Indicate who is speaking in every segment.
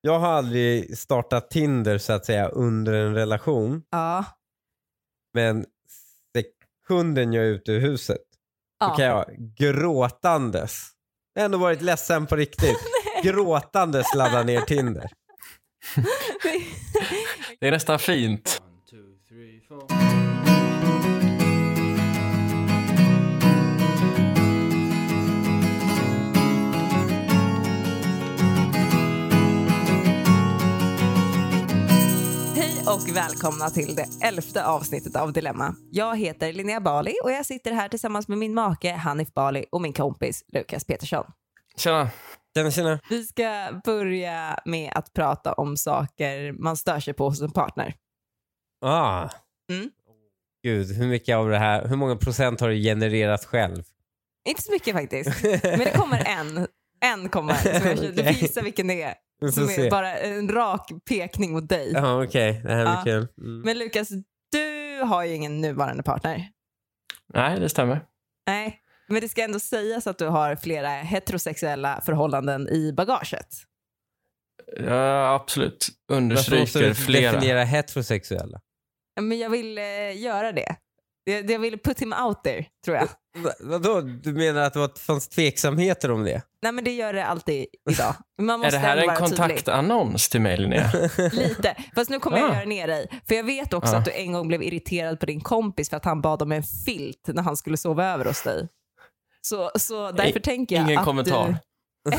Speaker 1: Jag har aldrig startat Tinder så att säga under en relation.
Speaker 2: Ja.
Speaker 1: Men sekunden jag är ute ur huset då
Speaker 2: ja.
Speaker 1: kan jag gråtandes, jag har ändå varit ledsen på riktigt, gråtandes ladda ner Tinder.
Speaker 3: Det är nästan fint.
Speaker 2: Hej och välkomna till det elfte avsnittet av Dilemma. Jag heter Linnea Bali och jag sitter här tillsammans med min make Hanif Bali och min kompis Lukas Petersson.
Speaker 3: Tjena.
Speaker 1: Tjena tjena.
Speaker 2: Vi ska börja med att prata om saker man stör sig på hos en partner.
Speaker 1: Ah.
Speaker 2: Mm.
Speaker 1: Gud, hur mycket av det här, hur många procent har du genererat själv?
Speaker 2: Inte så mycket faktiskt, men det kommer en. En kommer. Som jag, Du
Speaker 1: Okej.
Speaker 2: får gissa vilken det är.
Speaker 1: Vi får
Speaker 2: Som är
Speaker 1: se.
Speaker 2: bara en rak pekning mot dig.
Speaker 1: Ja, okej. Det här blir
Speaker 2: Ja.
Speaker 1: kul. Mm.
Speaker 2: Men Lukas, du har ju ingen nuvarande partner.
Speaker 3: Nej, det stämmer.
Speaker 2: Nej, men det ska ändå sägas att du har flera heterosexuella förhållanden i bagaget.
Speaker 3: Ja, absolut.
Speaker 1: Varför måste
Speaker 3: Understryker
Speaker 1: du
Speaker 3: flera.
Speaker 1: definiera heterosexuella?
Speaker 2: Men jag vill eh, göra det. Jag, jag vill put him out there, tror jag.
Speaker 1: Va- Vadå, du menar att det var- fanns tveksamheter om det?
Speaker 2: Nej, men det gör det alltid idag. Man
Speaker 3: Är
Speaker 2: måste
Speaker 3: det här
Speaker 2: ändå
Speaker 3: en
Speaker 2: vara
Speaker 3: kontaktannons till mig, Linnea?
Speaker 2: Tydlig. Lite. Fast nu kommer jag
Speaker 3: Ah.
Speaker 2: göra ner dig. För jag vet också
Speaker 3: Ah.
Speaker 2: att du en gång blev irriterad på din kompis för att han bad om en filt när han skulle sova över hos dig. Så, så därför tänker jag
Speaker 3: Ingen
Speaker 2: att
Speaker 3: kommentar.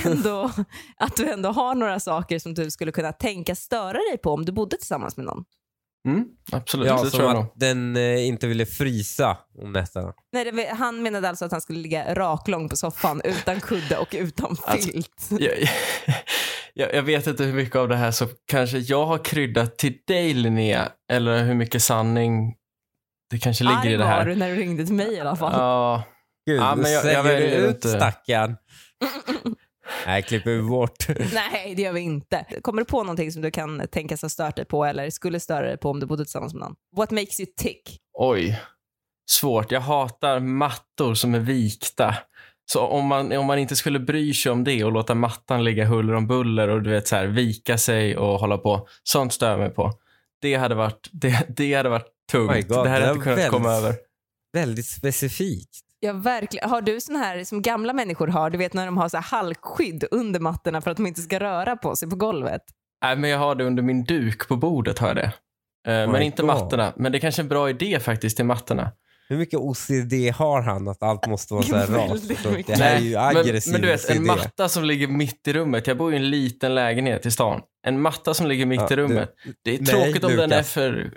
Speaker 2: du... Ändå, att du ändå har några saker som du skulle kunna tänka störa dig på om du bodde tillsammans med någon.
Speaker 3: Mm, absolut,
Speaker 1: Ja,
Speaker 3: det
Speaker 1: som
Speaker 3: tror jag nog.
Speaker 1: att den eh, inte ville frysa om nätterna.
Speaker 2: Nej, det, han menade alltså att han skulle ligga raklång på soffan utan kudde och utan
Speaker 3: Alltså-
Speaker 2: filt.
Speaker 3: jag, jag, jag vet inte hur mycket av det här som kanske jag har kryddat till dig Linnea, eller hur mycket sanning det kanske ligger i det
Speaker 2: var
Speaker 3: här.
Speaker 2: du när du ringde till mig i alla fall.
Speaker 3: Ja,
Speaker 1: Gud,
Speaker 3: Ja, men jag-
Speaker 1: säljer
Speaker 3: jag
Speaker 1: du
Speaker 3: väljer
Speaker 1: ut
Speaker 3: inte.
Speaker 1: stackaren? Nej, klipper vi bort.
Speaker 2: Nej, det gör vi inte. Kommer du på någonting som du kan tänkas ha stört dig på eller skulle störa dig på om du bodde tillsammans med någon? What makes you tick?
Speaker 3: oj, svårt. Jag hatar mattor som är vikta. Så om man, om man inte skulle bry sig om det och låta mattan ligga huller om buller och du vet så här, vika sig och hålla på, sånt stör jag mig på. Det hade varit, det, det hade varit
Speaker 1: Oh My
Speaker 3: tungt.
Speaker 1: God,
Speaker 3: det hade
Speaker 1: det
Speaker 3: jag inte
Speaker 1: var
Speaker 3: kunnat
Speaker 1: väldigt-
Speaker 3: komma över.
Speaker 1: Väldigt specifikt.
Speaker 2: Ja, verkligen. Har du sån här som gamla människor har, du vet när de har så här halkskydd under mattorna för att de inte ska röra på sig på golvet?
Speaker 3: Nej, men jag har det under min duk på bordet. Har jag det. Eh,
Speaker 1: Oh
Speaker 3: men
Speaker 1: my
Speaker 3: inte
Speaker 1: God.
Speaker 3: mattorna. Men det är kanske är en bra idé faktiskt till mattorna.
Speaker 1: Hur mycket OCD har han att allt måste vara så här
Speaker 2: Väldigt
Speaker 1: rakt? upp? Det
Speaker 2: mycket.
Speaker 1: här är ju
Speaker 3: men,
Speaker 1: aggressiv
Speaker 3: men du vet, en
Speaker 1: OCD.
Speaker 3: matta som ligger mitt i rummet. Jag bor i en liten lägenhet i stan. En matta som ligger mitt
Speaker 1: Ja,
Speaker 3: i
Speaker 1: du-
Speaker 3: rummet. det är
Speaker 1: nej,
Speaker 3: tråkigt om den är
Speaker 1: Lukas.
Speaker 3: för...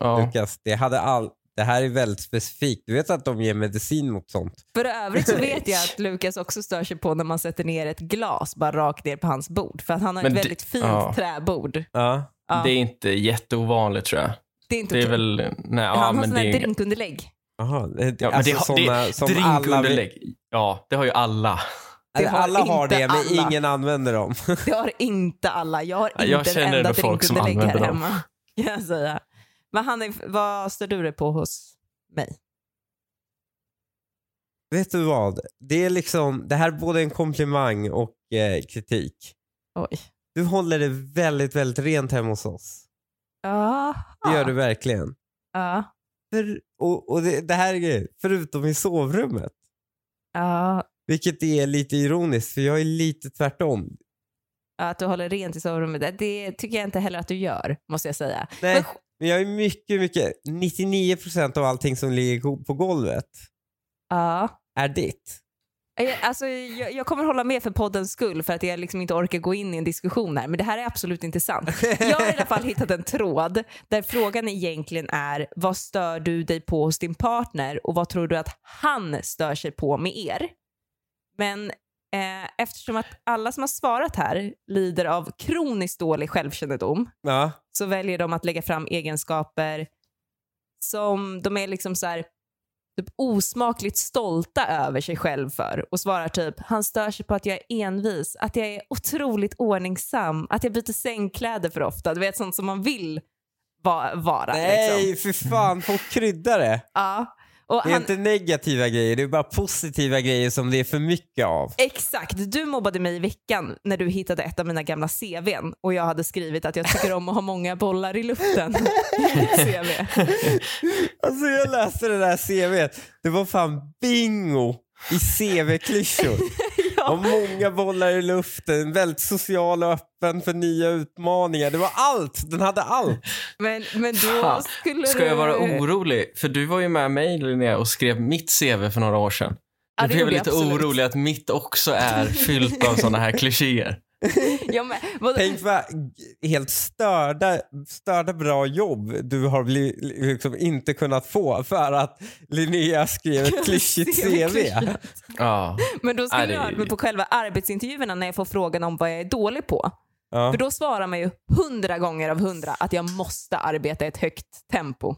Speaker 3: Ja.
Speaker 1: Lukas, det, hade all... det här är väldigt specifikt. Du vet att de ger medicin mot sånt?
Speaker 2: För övrigt så vet jag att Lukas också stör sig på när man sätter ner ett glas bara rakt ner på hans bord. För att han har
Speaker 3: Men
Speaker 2: ett
Speaker 3: det-
Speaker 2: väldigt fint
Speaker 3: ja.
Speaker 2: träbord.
Speaker 1: Ja.
Speaker 2: Ja,
Speaker 3: Det är inte jätteovanligt tror jag.
Speaker 2: det är inte
Speaker 3: Det är
Speaker 2: okej.
Speaker 3: väl... Nej,
Speaker 2: han
Speaker 3: ja,
Speaker 2: har
Speaker 3: men
Speaker 2: sådana
Speaker 3: det
Speaker 2: här
Speaker 3: är...
Speaker 2: drinkunderlägg.
Speaker 1: Aha.
Speaker 3: Ja, men det,
Speaker 1: alltså
Speaker 3: har-
Speaker 1: eh,
Speaker 3: det, drinkunderlägg. Ja, det har ju alla.
Speaker 2: Det har
Speaker 1: alla har
Speaker 2: inte
Speaker 1: det, men
Speaker 2: alla.
Speaker 1: ingen använder dem.
Speaker 2: Det har inte alla. Jag har
Speaker 3: Ja,
Speaker 2: inte
Speaker 3: jag
Speaker 2: ett
Speaker 3: känner
Speaker 2: enda
Speaker 3: ändå folk som
Speaker 2: drinkunderlägg här
Speaker 3: använder dem.
Speaker 2: hemma. Kan jag säga. Men Hanif, vad stör du dig på hos mig?
Speaker 1: Vet du vad? Det är liksom, det här är både en komplimang och eh, kritik.
Speaker 2: Oj.
Speaker 1: Du håller det väldigt, väldigt rent hemma hos oss.
Speaker 2: Ja.
Speaker 1: Det gör du verkligen.
Speaker 2: Ja.
Speaker 1: För, och och det, det här är grejen, förutom i sovrummet.
Speaker 2: Ja.
Speaker 1: Vilket är lite ironiskt, för jag är lite tvärtom.
Speaker 2: Att du håller rent i sovrummet, det- det tycker jag inte heller att du gör, måste jag säga.
Speaker 1: Nej, men jag är mycket, mycket, 99% av allting som ligger på golvet
Speaker 2: Ja.
Speaker 1: är ditt.
Speaker 2: Jag- Alltså, jag, jag kommer hålla med för poddens skull för att jag liksom inte orkar gå in i en diskussion här, men det här är absolut inte sant. Jag har i alla fall hittat en tråd där frågan egentligen är vad stör du dig på hos din partner och vad tror du att han stör sig på med er? Men eh, eftersom att alla som har svarat här lider av kroniskt dålig självkännedom
Speaker 1: Ja,
Speaker 2: så väljer de att lägga fram egenskaper som de är liksom så här typ osmakligt stolta över sig själv för och svarar typ han stör sig på att jag är envis, att jag är otroligt ordningsam, att jag byter sängkläder för ofta. Du vet sånt som man vill va- vara. Liksom.
Speaker 1: nej för fan, folk kryddar det.
Speaker 2: Ja. Och
Speaker 1: Det är
Speaker 2: han,
Speaker 1: inte negativa grejer, det är bara positiva grejer som det är för mycket av.
Speaker 2: Exakt, du mobbade mig i veckan när du hittade ett av mina gamla CVn och jag hade skrivit att jag tycker om att ha många bollar i luften i mitt CV.
Speaker 1: Alltså jag läste det där CVt, det var fan bingo i CV-klyschor. Och många bollar i luften, väldigt social och öppen för nya utmaningar. Det var allt, den hade allt.
Speaker 2: Men, men då
Speaker 3: Fan,
Speaker 2: skulle
Speaker 3: Ska jag vara
Speaker 2: du...
Speaker 3: orolig? För du var ju med mig Linnea och skrev mitt CV för några år sedan.
Speaker 2: Ja,
Speaker 3: Jag
Speaker 2: det
Speaker 3: blev
Speaker 2: gjorde jag
Speaker 3: lite
Speaker 2: absolut.
Speaker 3: orolig att mitt också är fyllt av sådana här klichéer.
Speaker 2: Ja, men, vad,
Speaker 1: Tänk vad helt störda, störda bra jobb du har bli, liksom inte kunnat få för att Linnea skrev ett klyschigt CV.
Speaker 3: Ja.
Speaker 2: men då skulle
Speaker 3: Nej, det-
Speaker 2: jag ha hört mig på själva arbetsintervjuerna när jag får frågan om vad jag är dålig på.
Speaker 1: Ja.
Speaker 2: För då svarar man ju hundra gånger av hundra att jag måste arbeta i ett högt tempo.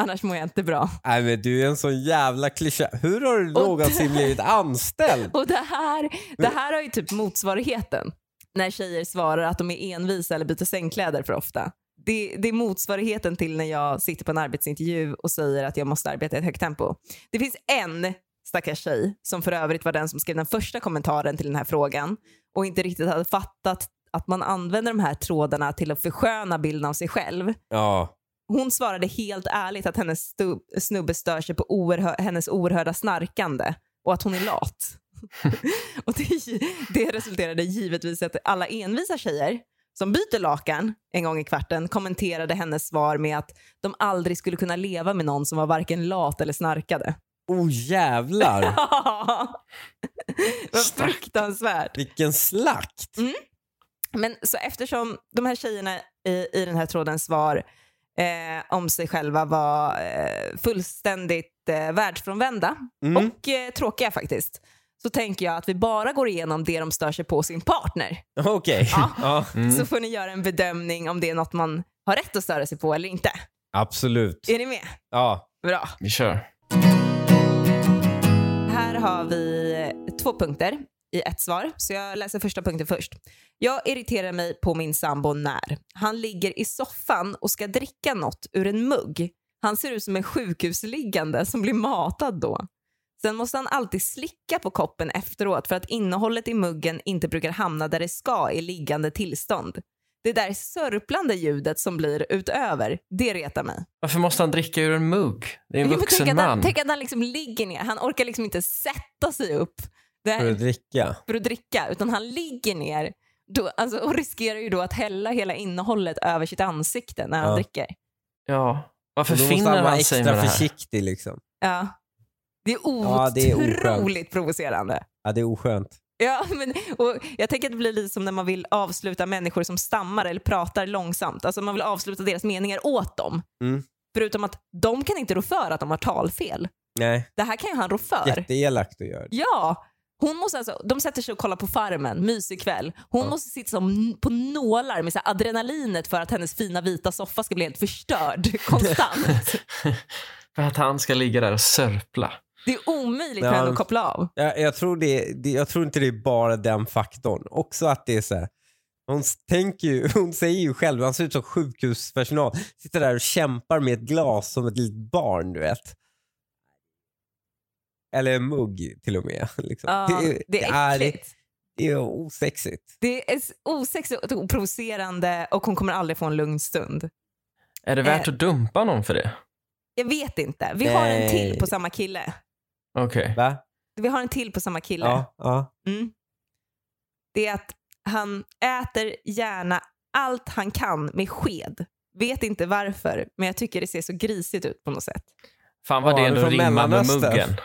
Speaker 2: Annars mår jag inte bra.
Speaker 1: Nej, men du är en sån jävla klyscha. Hur har du någonsin blivit anställd?
Speaker 2: Och det här, det här har ju typ motsvarigheten. När tjejer svarar att de är envisa eller byter sängkläder för ofta. Det, det är motsvarigheten till när jag sitter på en arbetsintervju och säger att jag måste arbeta i ett högt tempo. Det finns en stackars tjej som för övrigt var den som skrev den första kommentaren till den här frågan och inte riktigt hade fattat att man använder de här trådarna till att försköna bilden av sig själv.
Speaker 1: Ja.
Speaker 2: Hon svarade helt ärligt att hennes stu- snubbe stör sig på oerhö- hennes oerhörda snarkande och att hon är lat. och det, det resulterade givetvis i att alla envisa tjejer som byter lakan en gång i kvarten kommenterade hennes svar med att de aldrig skulle kunna leva med någon som var varken lat eller snarkade.
Speaker 1: Oh jävlar.
Speaker 2: Vad
Speaker 3: Stack.
Speaker 2: fruktansvärt.
Speaker 1: Vilken slakt.
Speaker 2: Men så eftersom de här tjejerna i, i den här trådens svar eh, om sig själva var eh, fullständigt eh, världsfrånvända
Speaker 1: Mm.
Speaker 2: och eh, tråkiga faktiskt så tänker jag att vi bara går igenom det de stör sig på hos sin partner.
Speaker 1: Oh, Okej.
Speaker 2: Ja.
Speaker 1: Ja.
Speaker 3: Mm.
Speaker 2: Så får ni göra en bedömning om det är något man har rätt att störa sig på eller inte.
Speaker 1: Absolut.
Speaker 2: Är ni med?
Speaker 1: Ja.
Speaker 2: Bra.
Speaker 3: Vi kör.
Speaker 2: Här har vi två punkter i ett svar, så jag läser första punkten först. Jag irriterar mig på min sambo när han ligger i soffan och ska dricka något ur en mugg. Han ser ut som en sjukhusliggande som blir matad då. Sen måste han alltid slicka på koppen efteråt för att innehållet i muggen inte brukar hamna där det ska i liggande tillstånd. Det där sörplande ljudet som blir utöver, det retar mig.
Speaker 3: Varför måste han dricka ur en mugg? Det är en
Speaker 2: Ja, men tänk,
Speaker 3: vuxen
Speaker 2: att han,
Speaker 3: man.
Speaker 2: tänk att han liksom ligger ner. Han orkar liksom inte sätta sig upp
Speaker 1: För
Speaker 2: där
Speaker 1: att dricka.
Speaker 2: för att dricka, utan han ligger ner då, alltså, och riskerar ju då att hälla hela innehållet över sitt ansikte när han
Speaker 1: Ja.
Speaker 2: dricker.
Speaker 3: Ja. Varför
Speaker 1: Och Då måste
Speaker 3: finner
Speaker 1: han vara
Speaker 3: han sig med det
Speaker 1: extra
Speaker 3: här?
Speaker 1: försiktig liksom.
Speaker 2: Ja. Det är
Speaker 1: Ja, det är oskönt.
Speaker 2: otroligt provocerande.
Speaker 1: Ja, det är oskönt.
Speaker 2: Ja, men, och jag tänker att det blir lite som när man vill avsluta människor som stammar eller pratar långsamt. Alltså man vill avsluta deras meningar åt dem.
Speaker 1: Mm.
Speaker 2: Förutom att de kan inte rå för att de har talfel.
Speaker 1: Nej,
Speaker 2: Det här kan ju han rå för.
Speaker 1: jätteelakt att göra det.
Speaker 2: Ja! Hon måste alltså, de sätter sig och kollar på Farmen, mysig kväll. Hon
Speaker 1: Ja.
Speaker 2: måste sitta som på nålar med så här adrenalinet för att hennes fina vita soffa ska bli helt förstörd konstant.
Speaker 3: För att han ska ligga där och sörpla.
Speaker 2: Det är omöjligt
Speaker 1: Ja.
Speaker 2: för henne att koppla av.
Speaker 1: Jag, jag, tror det, det, jag tror inte det är bara den faktorn. Också att det är så här. Hon, s- tänker ju, hon säger ju själv, han ser ut som sjukhuspersonal. Sitter där och kämpar med ett glas som ett litet barn, du vet. Eller en mugg till och med. Liksom.
Speaker 2: Ja, det, är
Speaker 1: det,
Speaker 2: äckligt.
Speaker 1: det är osexigt.
Speaker 2: Det är s- osexigt och provocerande och hon kommer aldrig få en lugn stund.
Speaker 3: Är
Speaker 2: Eh.
Speaker 3: det värt att dumpa någon för det?
Speaker 2: Jag vet inte. Vi har en till
Speaker 1: Nej.
Speaker 2: på samma kille.
Speaker 3: Okej.
Speaker 1: Va?
Speaker 2: Vi har en till på samma kille.
Speaker 1: Ja, ja.
Speaker 2: Mm. Det är att han äter gärna allt han kan med sked. Vet inte varför, men jag tycker det ser så grisigt ut på något sätt.
Speaker 3: Fan vad
Speaker 1: Ja,
Speaker 3: det
Speaker 1: han är
Speaker 3: ändå
Speaker 1: från
Speaker 3: rimmar med
Speaker 1: Mellanöstern.
Speaker 3: muggen.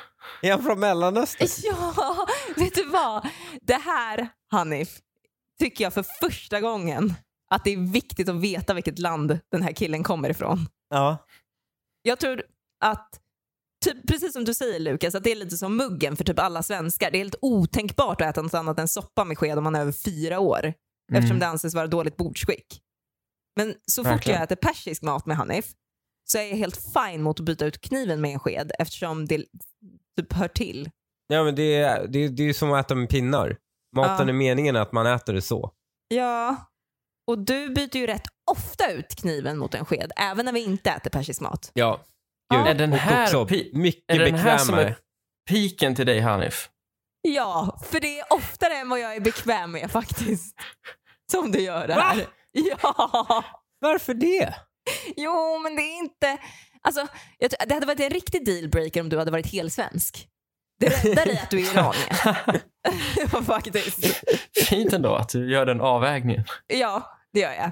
Speaker 1: Är han från Mellanöstern?
Speaker 2: Ja, vet du vad? Det här, Hanif, tycker jag för första gången att det är viktigt att veta vilket land den här killen kommer ifrån.
Speaker 1: Ja.
Speaker 2: Jag tror att, typ, precis som du säger Lukas, att det är lite som muggen för typ alla svenskar. Det är helt otänkbart att äta något annat än soppa med sked om man är över fyra år.
Speaker 3: Mm.
Speaker 2: eftersom det anses vara dåligt bordsskick. Men så fort
Speaker 3: Verkligen.
Speaker 2: jag äter persisk mat med Hanif så är jag helt fine mot att byta ut kniven med en sked eftersom det typ hör till.
Speaker 1: Ja, men det är, det, är- det är ju som att äta med pinnar. Maten
Speaker 2: Ja.
Speaker 1: är meningen att man äter det så.
Speaker 2: Ja. Och du byter ju rätt ofta ut kniven mot en sked, även när vi inte äter persisk mat.
Speaker 1: Ja. Gud.
Speaker 3: Är den
Speaker 1: Och
Speaker 3: här
Speaker 1: också
Speaker 3: pi-
Speaker 1: mycket
Speaker 3: Är det den här som
Speaker 1: bekvämare.
Speaker 3: är piken till dig Hanif?
Speaker 2: Ja, för det är oftare än vad jag är bekväm med faktiskt. Som du gör det här.
Speaker 1: Va?
Speaker 2: Ja.
Speaker 1: Varför det?
Speaker 2: Jo, men det är inte... Alltså, jag, tror- det hade varit en riktig dealbreaker om du hade varit helsvensk. Det räddar dig att du är iranier. faktiskt.
Speaker 3: Fint ändå att du gör den avvägningen.
Speaker 2: Ja, det gör jag.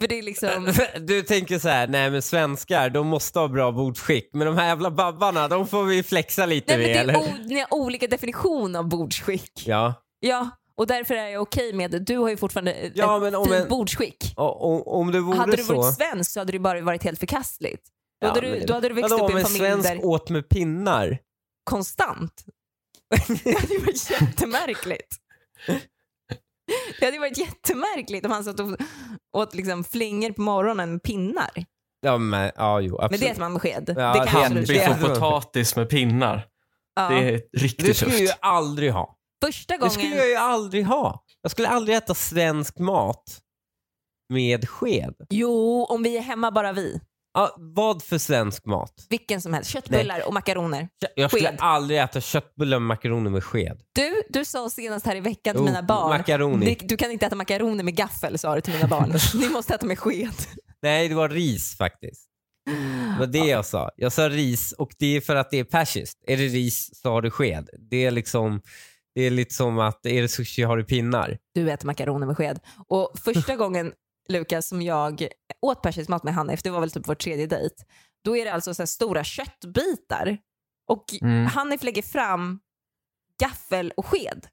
Speaker 2: För det är liksom...
Speaker 1: Du tänker så här, nej men svenskar de måste ha bra bordskick men de här jävla babbarna de får vi flexa lite
Speaker 2: Nej, men det
Speaker 1: med
Speaker 2: är
Speaker 1: eller?
Speaker 2: o- ni har olika definition av bordsskick.
Speaker 1: Ja.
Speaker 2: Ja, och därför är jag okej med... Du har ju fortfarande eh,
Speaker 1: Ja,
Speaker 2: ett
Speaker 1: men om
Speaker 2: fint
Speaker 1: en-
Speaker 2: bordsskick.
Speaker 1: Och, om- om det vore
Speaker 2: Hade du
Speaker 1: så.
Speaker 2: varit svensk så hade det bara varit helt förkastligt. Då,
Speaker 1: Ja,
Speaker 2: hade, du,
Speaker 1: men-
Speaker 2: då hade du växt
Speaker 1: Vadå,
Speaker 2: upp i
Speaker 1: om
Speaker 2: en
Speaker 1: en
Speaker 2: familj
Speaker 1: svensk
Speaker 2: där
Speaker 1: åt med pinnar?
Speaker 2: konstant. Det hade ju varit jättemärkligt. Det hade ju varit jättemärkligt om han satt och åt liksom flingor på morgonen med pinnar.
Speaker 1: Ja, men, ja jo
Speaker 2: Men det är
Speaker 1: absolut.
Speaker 2: ett mansked.
Speaker 1: Ja,
Speaker 2: det kan
Speaker 1: det-
Speaker 2: absolut
Speaker 3: Biff
Speaker 1: det-
Speaker 2: det.
Speaker 3: och potatis med pinnar.
Speaker 2: Ja.
Speaker 3: Det är riktigt
Speaker 1: Det skulle jag ju
Speaker 3: tufft.
Speaker 1: aldrig ha.
Speaker 2: Första
Speaker 1: Det skulle
Speaker 2: gången...
Speaker 1: jag ju aldrig ha. Jag skulle aldrig äta svensk mat med sked.
Speaker 2: Jo, om vi är hemma bara vi.
Speaker 1: Ja, vad för svensk mat?
Speaker 2: Vilken som helst. Köttbullar och makaroner.
Speaker 1: Jag skulle
Speaker 2: Sked.
Speaker 1: aldrig äta köttbullar med makaroner med sked.
Speaker 2: Du, du sa senast här i veckan till
Speaker 1: Jo,
Speaker 2: mina barn.
Speaker 1: Oh, makaroni.
Speaker 2: "Ni- Du kan inte äta makaroner med gaffel sa du till mina barn. Ni måste äta med sked.
Speaker 1: Nej, det var ris faktiskt. Det var det jag sa. Jag sa ris och det är för att det är persiskt. Är det ris så har du sked. Det är liksom, det är lite som att är det sushi har du pinnar.
Speaker 2: du äter makaroner med sked. Och första gången Lukas som jag åt persisk mat med Hanif, det var väl typ vår tredje dejt, då är det alltså så här stora köttbitar och
Speaker 3: Mm.
Speaker 2: Hanif lägger fram gaffel och sked.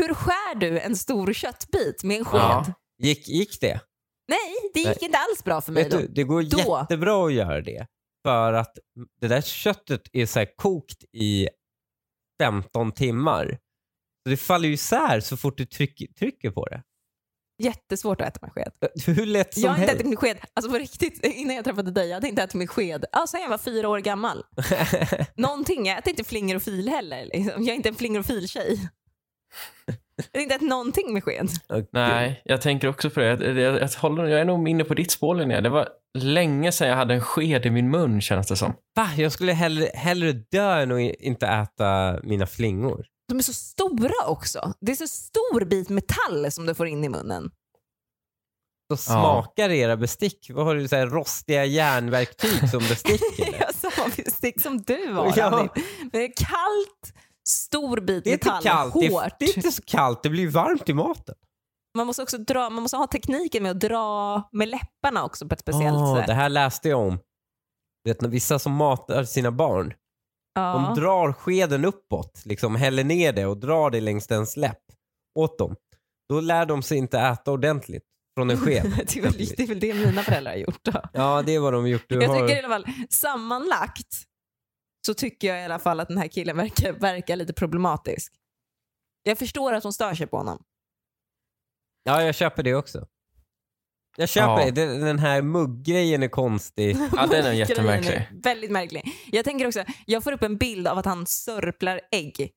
Speaker 2: Hur skär du en stor köttbit med en sked?
Speaker 3: Ja.
Speaker 1: Gick, gick det?
Speaker 2: Nej, det gick
Speaker 1: Nej.
Speaker 2: inte alls bra för mig
Speaker 1: Vet
Speaker 2: då.
Speaker 1: du, det går
Speaker 2: Då.
Speaker 1: jättebra att göra det. För att det där köttet är så här kokt i 15 timmar. Så det faller ju isär så fort du tryck, trycker på det.
Speaker 2: Jättesvårt att äta med sked.
Speaker 1: Hur lätt som
Speaker 2: jag har inte
Speaker 1: helst.
Speaker 2: ätit med sked, alltså på riktigt, innan jag träffade dig, jag hade inte ätit med sked. Alltså jag var fyra år gammal. Någonting, jag äter inte flingor och fil heller. Liksom. Jag är inte en flingor och fil-tjej. Jag har inte ätit någonting med sked.
Speaker 1: Åh, gud.
Speaker 3: Nej, jag tänker också på det. Jag, jag, jag, håller, jag är nog inne på ditt spår Linnea. Det var länge sedan jag hade en sked i min mun känns det som.
Speaker 1: Va? Jag skulle hellre, hellre dö än att i- inte äta mina flingor.
Speaker 2: De är så stora också. Det är så stor bit metall som du får in i munnen.
Speaker 1: Så smakar era bestick. Vad har du? Så här rostiga järnverktyg som bestick? eller?
Speaker 2: Jag sa stick som du har.
Speaker 1: Ja.
Speaker 2: Annie. Men det är kallt, stor bit
Speaker 1: Det är inte
Speaker 2: metall,
Speaker 1: kallt. Det är,
Speaker 2: hårt.
Speaker 1: det är inte så kallt. Det blir varmt i maten.
Speaker 2: Man måste också dra, man måste ha tekniken med att dra med läpparna också på ett speciellt
Speaker 1: Åh,
Speaker 2: sätt.
Speaker 1: Ah, det här läste jag om. Du vet, när vissa som matar sina barn,
Speaker 2: ja.
Speaker 1: de drar skeden uppåt, liksom häller ner det och drar det längs dens läpp åt dem. Då lär de sig inte äta ordentligt från en sked.
Speaker 2: det, är väl, det är väl det mina föräldrar har gjort. Då.
Speaker 1: Ja, det är vad de gjort. Du
Speaker 2: Jag
Speaker 1: har...
Speaker 2: tycker i alla fall, sammanlagt så tycker jag i alla fall att den här killen verkar, verkar lite problematisk. Jag förstår att hon stör sig på honom.
Speaker 1: Ja, jag köper det också. Jag köper
Speaker 3: Ja.
Speaker 1: det. Den den här mugggrejen är konstig.
Speaker 3: Ja, den är
Speaker 2: Grejen
Speaker 3: jättemärklig.
Speaker 2: Väldigt märklig. Jag tänker också, jag får upp en bild av att han sörplar ägg.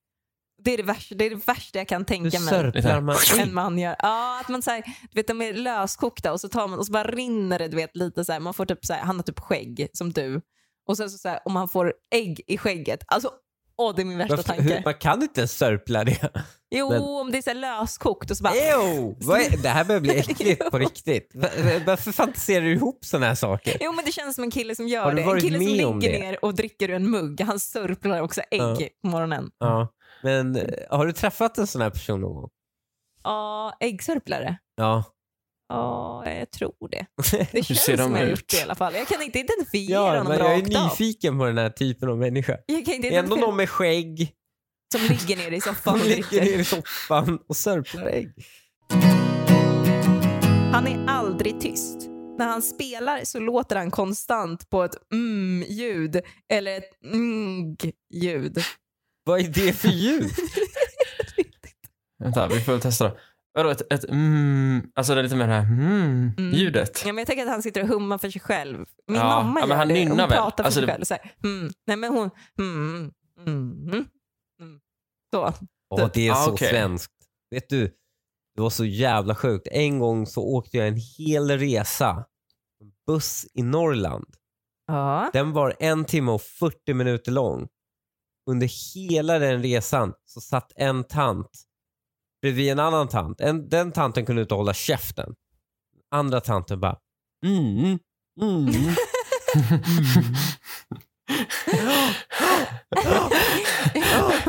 Speaker 2: Det är det värsta, det är det värsta jag kan
Speaker 1: Du
Speaker 2: tänka mig.
Speaker 1: sörplar man.
Speaker 2: En man gör. Ja, att man så här, du vet de är löskokta och så tar man och så bara rinner det du vet lite så här. Man får typ så här, han har typ skägg som du. Och sen så, så här, om han får ägg i skägget. Alltså, åh det är min värsta
Speaker 1: Varför-
Speaker 2: tanke.
Speaker 1: hur- Man kan inte ens sörpla det.
Speaker 2: Jo,
Speaker 1: Men- Eh!
Speaker 2: om det är så här löskokt och så bara...
Speaker 1: Ew, vad är, det här börjar bli äckligt på riktigt. Va- va- Varför fantiserar du ihop sådana här saker?
Speaker 2: Jo, men det känns som en kille som gör
Speaker 1: Har du
Speaker 2: det. En
Speaker 1: varit
Speaker 2: kille som
Speaker 1: med om
Speaker 2: ligger
Speaker 1: det?
Speaker 2: ner och dricker ur en mugg. Han sörplar också ägg
Speaker 1: Ja.
Speaker 2: på morgonen.
Speaker 1: Ja. Men eh, har du träffat en sån här person någon gång?
Speaker 2: Ja, äggsörplare.
Speaker 1: Ja.
Speaker 2: Ja, jag tror det. Det känns
Speaker 3: ser de
Speaker 2: som jag har
Speaker 3: ut?
Speaker 2: gjort det i alla fall. Jag kan inte identifiera
Speaker 1: ja
Speaker 2: honom
Speaker 1: men jag är
Speaker 2: rakt av.
Speaker 1: nyfiken på den här typen av människa.
Speaker 2: Jag kan inte
Speaker 1: Det är ändå
Speaker 2: identifiera
Speaker 1: någon med skägg
Speaker 2: som ligger ner i soffan
Speaker 1: som
Speaker 2: och
Speaker 1: ligger ner
Speaker 2: dricker.
Speaker 1: i soffan och sörplar ägg.
Speaker 2: Han är aldrig tyst. När han spelar så låter han konstant på ett mm-ljud eller ett mm-ljud.
Speaker 1: Vad är det för ljud?
Speaker 3: Vänta, vi får väl testa då. Vadå, ett, ett mm, alltså det är lite mer det här mm,
Speaker 2: Mm.
Speaker 3: ljudet.
Speaker 2: Ja, men jag tänker att han sitter och hummar för sig själv. Min
Speaker 3: Ja,
Speaker 2: mamma
Speaker 3: ja,
Speaker 2: gör
Speaker 3: men han
Speaker 2: det.
Speaker 3: nynnar
Speaker 2: hon
Speaker 3: väl?
Speaker 2: pratar för
Speaker 3: Alltså,
Speaker 2: sig
Speaker 3: det-
Speaker 2: själv. Så här, mm. Nej, men hon... Mm, mm, mm, mm. Så.
Speaker 1: Åh, det är
Speaker 3: Ah,
Speaker 1: så
Speaker 3: okej.
Speaker 1: svenskt. Vet du, det var så jävla sjukt. En gång så åkte jag en hel resa, en buss i Norrland.
Speaker 2: Ja.
Speaker 1: Den var en timme och 40 minuter lång. Under hela den resan så satt en tant bredvid en annan tant. En, den tanten kunde inte hålla käften. Andra tanten bara mm, mm.
Speaker 3: Det är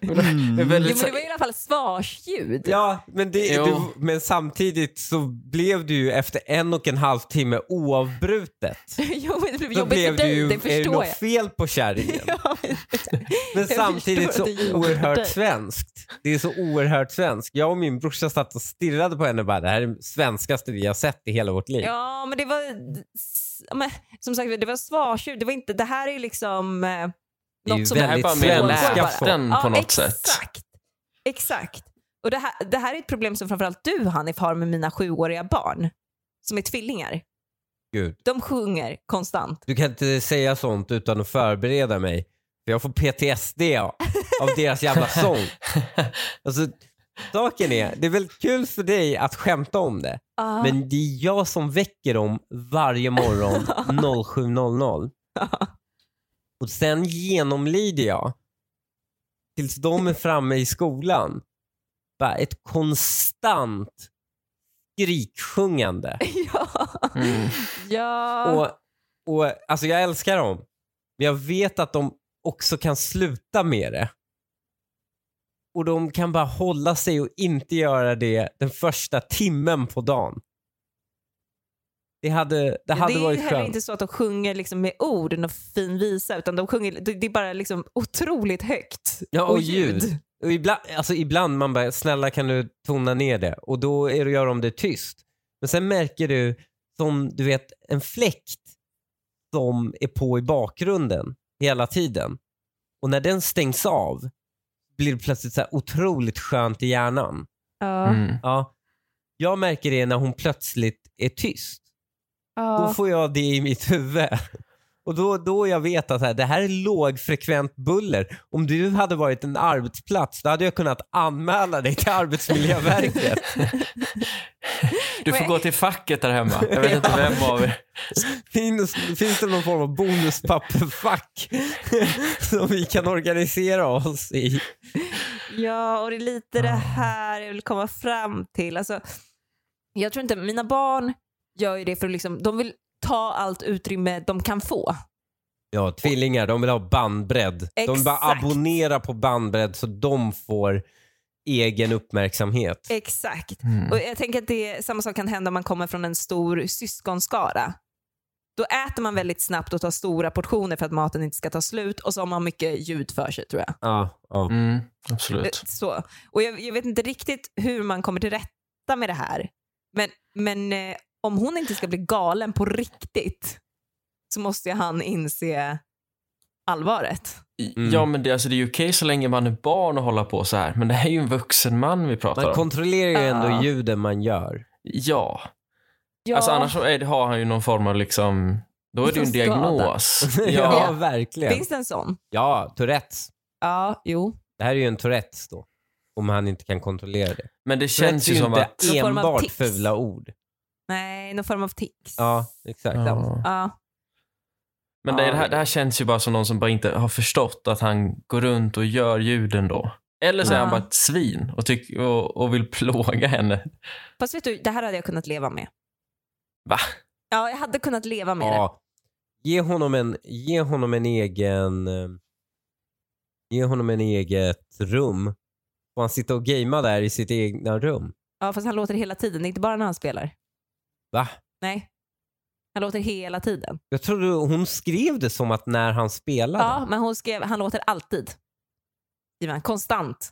Speaker 2: Jo, Mm. men
Speaker 3: väldigt,
Speaker 2: det var i alla fall svarsljud.
Speaker 1: Ja, men, det,
Speaker 3: Jo.
Speaker 1: du, men samtidigt så blev du ju efter en och en halv timme oavbrutet.
Speaker 2: jo, men det blev
Speaker 1: Då
Speaker 2: jobbigt
Speaker 1: blev
Speaker 2: för dig,
Speaker 1: du
Speaker 2: det
Speaker 1: är det
Speaker 2: förstår
Speaker 1: något
Speaker 2: jag.
Speaker 1: fel på kärringen?
Speaker 2: Ja, men-
Speaker 1: Men
Speaker 2: Jag
Speaker 1: samtidigt så
Speaker 2: förstår att det är jobbigt för dig.
Speaker 1: oerhört svenskt. Det är så oerhört svenskt. Jag och min brorsa satt och stirrade på henne och bara, det här är det svenskaste vi har sett i hela vårt liv.
Speaker 2: ja, men det var... ja, Men, som sagt, det var svarsljud. Det, var inte, det här är ju liksom eh,
Speaker 1: Det är ju
Speaker 2: något som...
Speaker 3: det här är
Speaker 1: väldigt
Speaker 3: bara mer
Speaker 1: svenska
Speaker 3: läten
Speaker 1: Mm,
Speaker 3: på något sätt.
Speaker 2: Exakt. exakt. Och det, här, det här är ett problem som framförallt du Hanif har med mina sjuåriga barn som är tvillingar.
Speaker 1: Gud.
Speaker 2: De sjunger konstant.
Speaker 1: Du kan inte säga sånt utan att förbereda mig. För jag får PTSD av av deras jävla sång. Alltså, saken är, det är väl kul för dig att skämta om det.
Speaker 2: Ja.
Speaker 1: Men det är jag som väcker dem varje morgon 07.00. Och sen genomlider jag tills de är framme i skolan. Bara ett konstant skriksjungande.
Speaker 2: ja.
Speaker 3: mm.
Speaker 2: ja.
Speaker 1: Och, och, alltså jag älskar dem, men jag vet att de också kan sluta med det. Och de kan bara hålla sig och inte göra det den första timmen på dagen. Det hade, det hade
Speaker 2: det är
Speaker 1: varit
Speaker 2: ju heller
Speaker 1: skönt.
Speaker 2: inte så att de sjunger liksom med ord och fin visa utan de sjunger, det det är bara liksom otroligt högt.
Speaker 1: Ja, och ljud. Och ibland, alltså ibland man bara, snälla kan du tona ner det? Och då är det, gör de det tyst. Men sen märker du, som du vet, en fläkt som är på i bakgrunden hela tiden. Och när den stängs av blir det plötsligt så här otroligt skönt i hjärnan.
Speaker 2: Ja,
Speaker 3: Mm.
Speaker 1: Ja. Jag märker det när hon plötsligt är tyst. Då
Speaker 2: ja.
Speaker 1: får jag det i mitt huvud. Och då, då jag vet att så här, det här är lågfrekvent buller. Om du hade varit en arbetsplats, då hade jag kunnat anmäla dig till Arbetsmiljöverket.
Speaker 3: Du får
Speaker 2: Men-
Speaker 3: gå till facket där hemma. Jag vet inte vem av er.
Speaker 1: finns, finns det någon form av bonuspapperfack som vi kan organisera oss i?
Speaker 2: ja, och det är lite det här jag vill komma fram till. Alltså, jag tror inte, mina barn gör ju det för att liksom, de vill ta allt utrymme de kan få.
Speaker 1: Ja, tvillingar, de vill ha bandbredd. De vill bara
Speaker 2: Exakt.
Speaker 1: abonnera på bandbredd så de får egen uppmärksamhet.
Speaker 2: Eh. Exakt.
Speaker 3: Mm.
Speaker 2: Och jag tänker att det, samma sak kan hända om man kommer från en stor syskonskara. Då äter man väldigt snabbt och tar stora portioner för att maten inte ska ta slut och så har man mycket ljud för sig tror jag.
Speaker 1: Ja, ja.
Speaker 3: Mm,
Speaker 2: Eh,
Speaker 3: absolut.
Speaker 2: Så. Och jag, jag vet inte riktigt hur man kommer till rätta med det här. Men, men eh, om hon inte ska bli galen på riktigt så måste ju han inse allvaret.
Speaker 1: Mm.
Speaker 3: Ja, men det, alltså, det är ju okej så länge man är barn och hålla på så här. Men det här är ju en vuxen man vi pratar
Speaker 1: Man
Speaker 3: om.
Speaker 1: kontrollerar ju ändå
Speaker 2: Ja.
Speaker 1: ljuden man gör.
Speaker 3: Ja. Alltså annars så är det, har han ju någon form av liksom... Då är det ju en
Speaker 2: Skada.
Speaker 3: diagnos.
Speaker 1: Ja,
Speaker 3: Ja.
Speaker 1: verkligen.
Speaker 2: Finns det en sån?
Speaker 1: Ja, Tourettes.
Speaker 2: Ja, jo.
Speaker 1: Det här är ju en Tourettes då. Om han inte kan kontrollera det.
Speaker 3: Men det
Speaker 1: Tourettes
Speaker 3: känns
Speaker 1: är
Speaker 3: ju som
Speaker 1: inte
Speaker 3: att...
Speaker 2: Någon form av
Speaker 1: enbart
Speaker 2: tics.
Speaker 1: fula ord.
Speaker 2: Nej, någon form av tics.
Speaker 1: Ja, exakt.
Speaker 3: Ja.
Speaker 2: Ja.
Speaker 3: Men det, är det, här, det här känns ju bara som någon som bara inte har förstått att han går runt och gör ljuden då. Eller så är
Speaker 2: Ja.
Speaker 3: han bara ett svin och, tyck, och, och vill plåga henne.
Speaker 2: Fast vet du, det här hade jag kunnat leva med.
Speaker 3: Va?
Speaker 2: Ja, jag hade kunnat leva med det.
Speaker 1: Ja. Ge, honom en, ge honom en egen... eh, Ge honom en eget rum. Får han sitta och gamea där i sitt egna rum?
Speaker 2: Ja, fast han låter hela tiden. Det är inte bara när han spelar.
Speaker 1: Va?
Speaker 2: Nej. Han låter hela tiden.
Speaker 1: Jag trodde hon skrev det som att när han spelade.
Speaker 2: Ja, men hon skrev, han låter alltid. Skriver han. Konstant.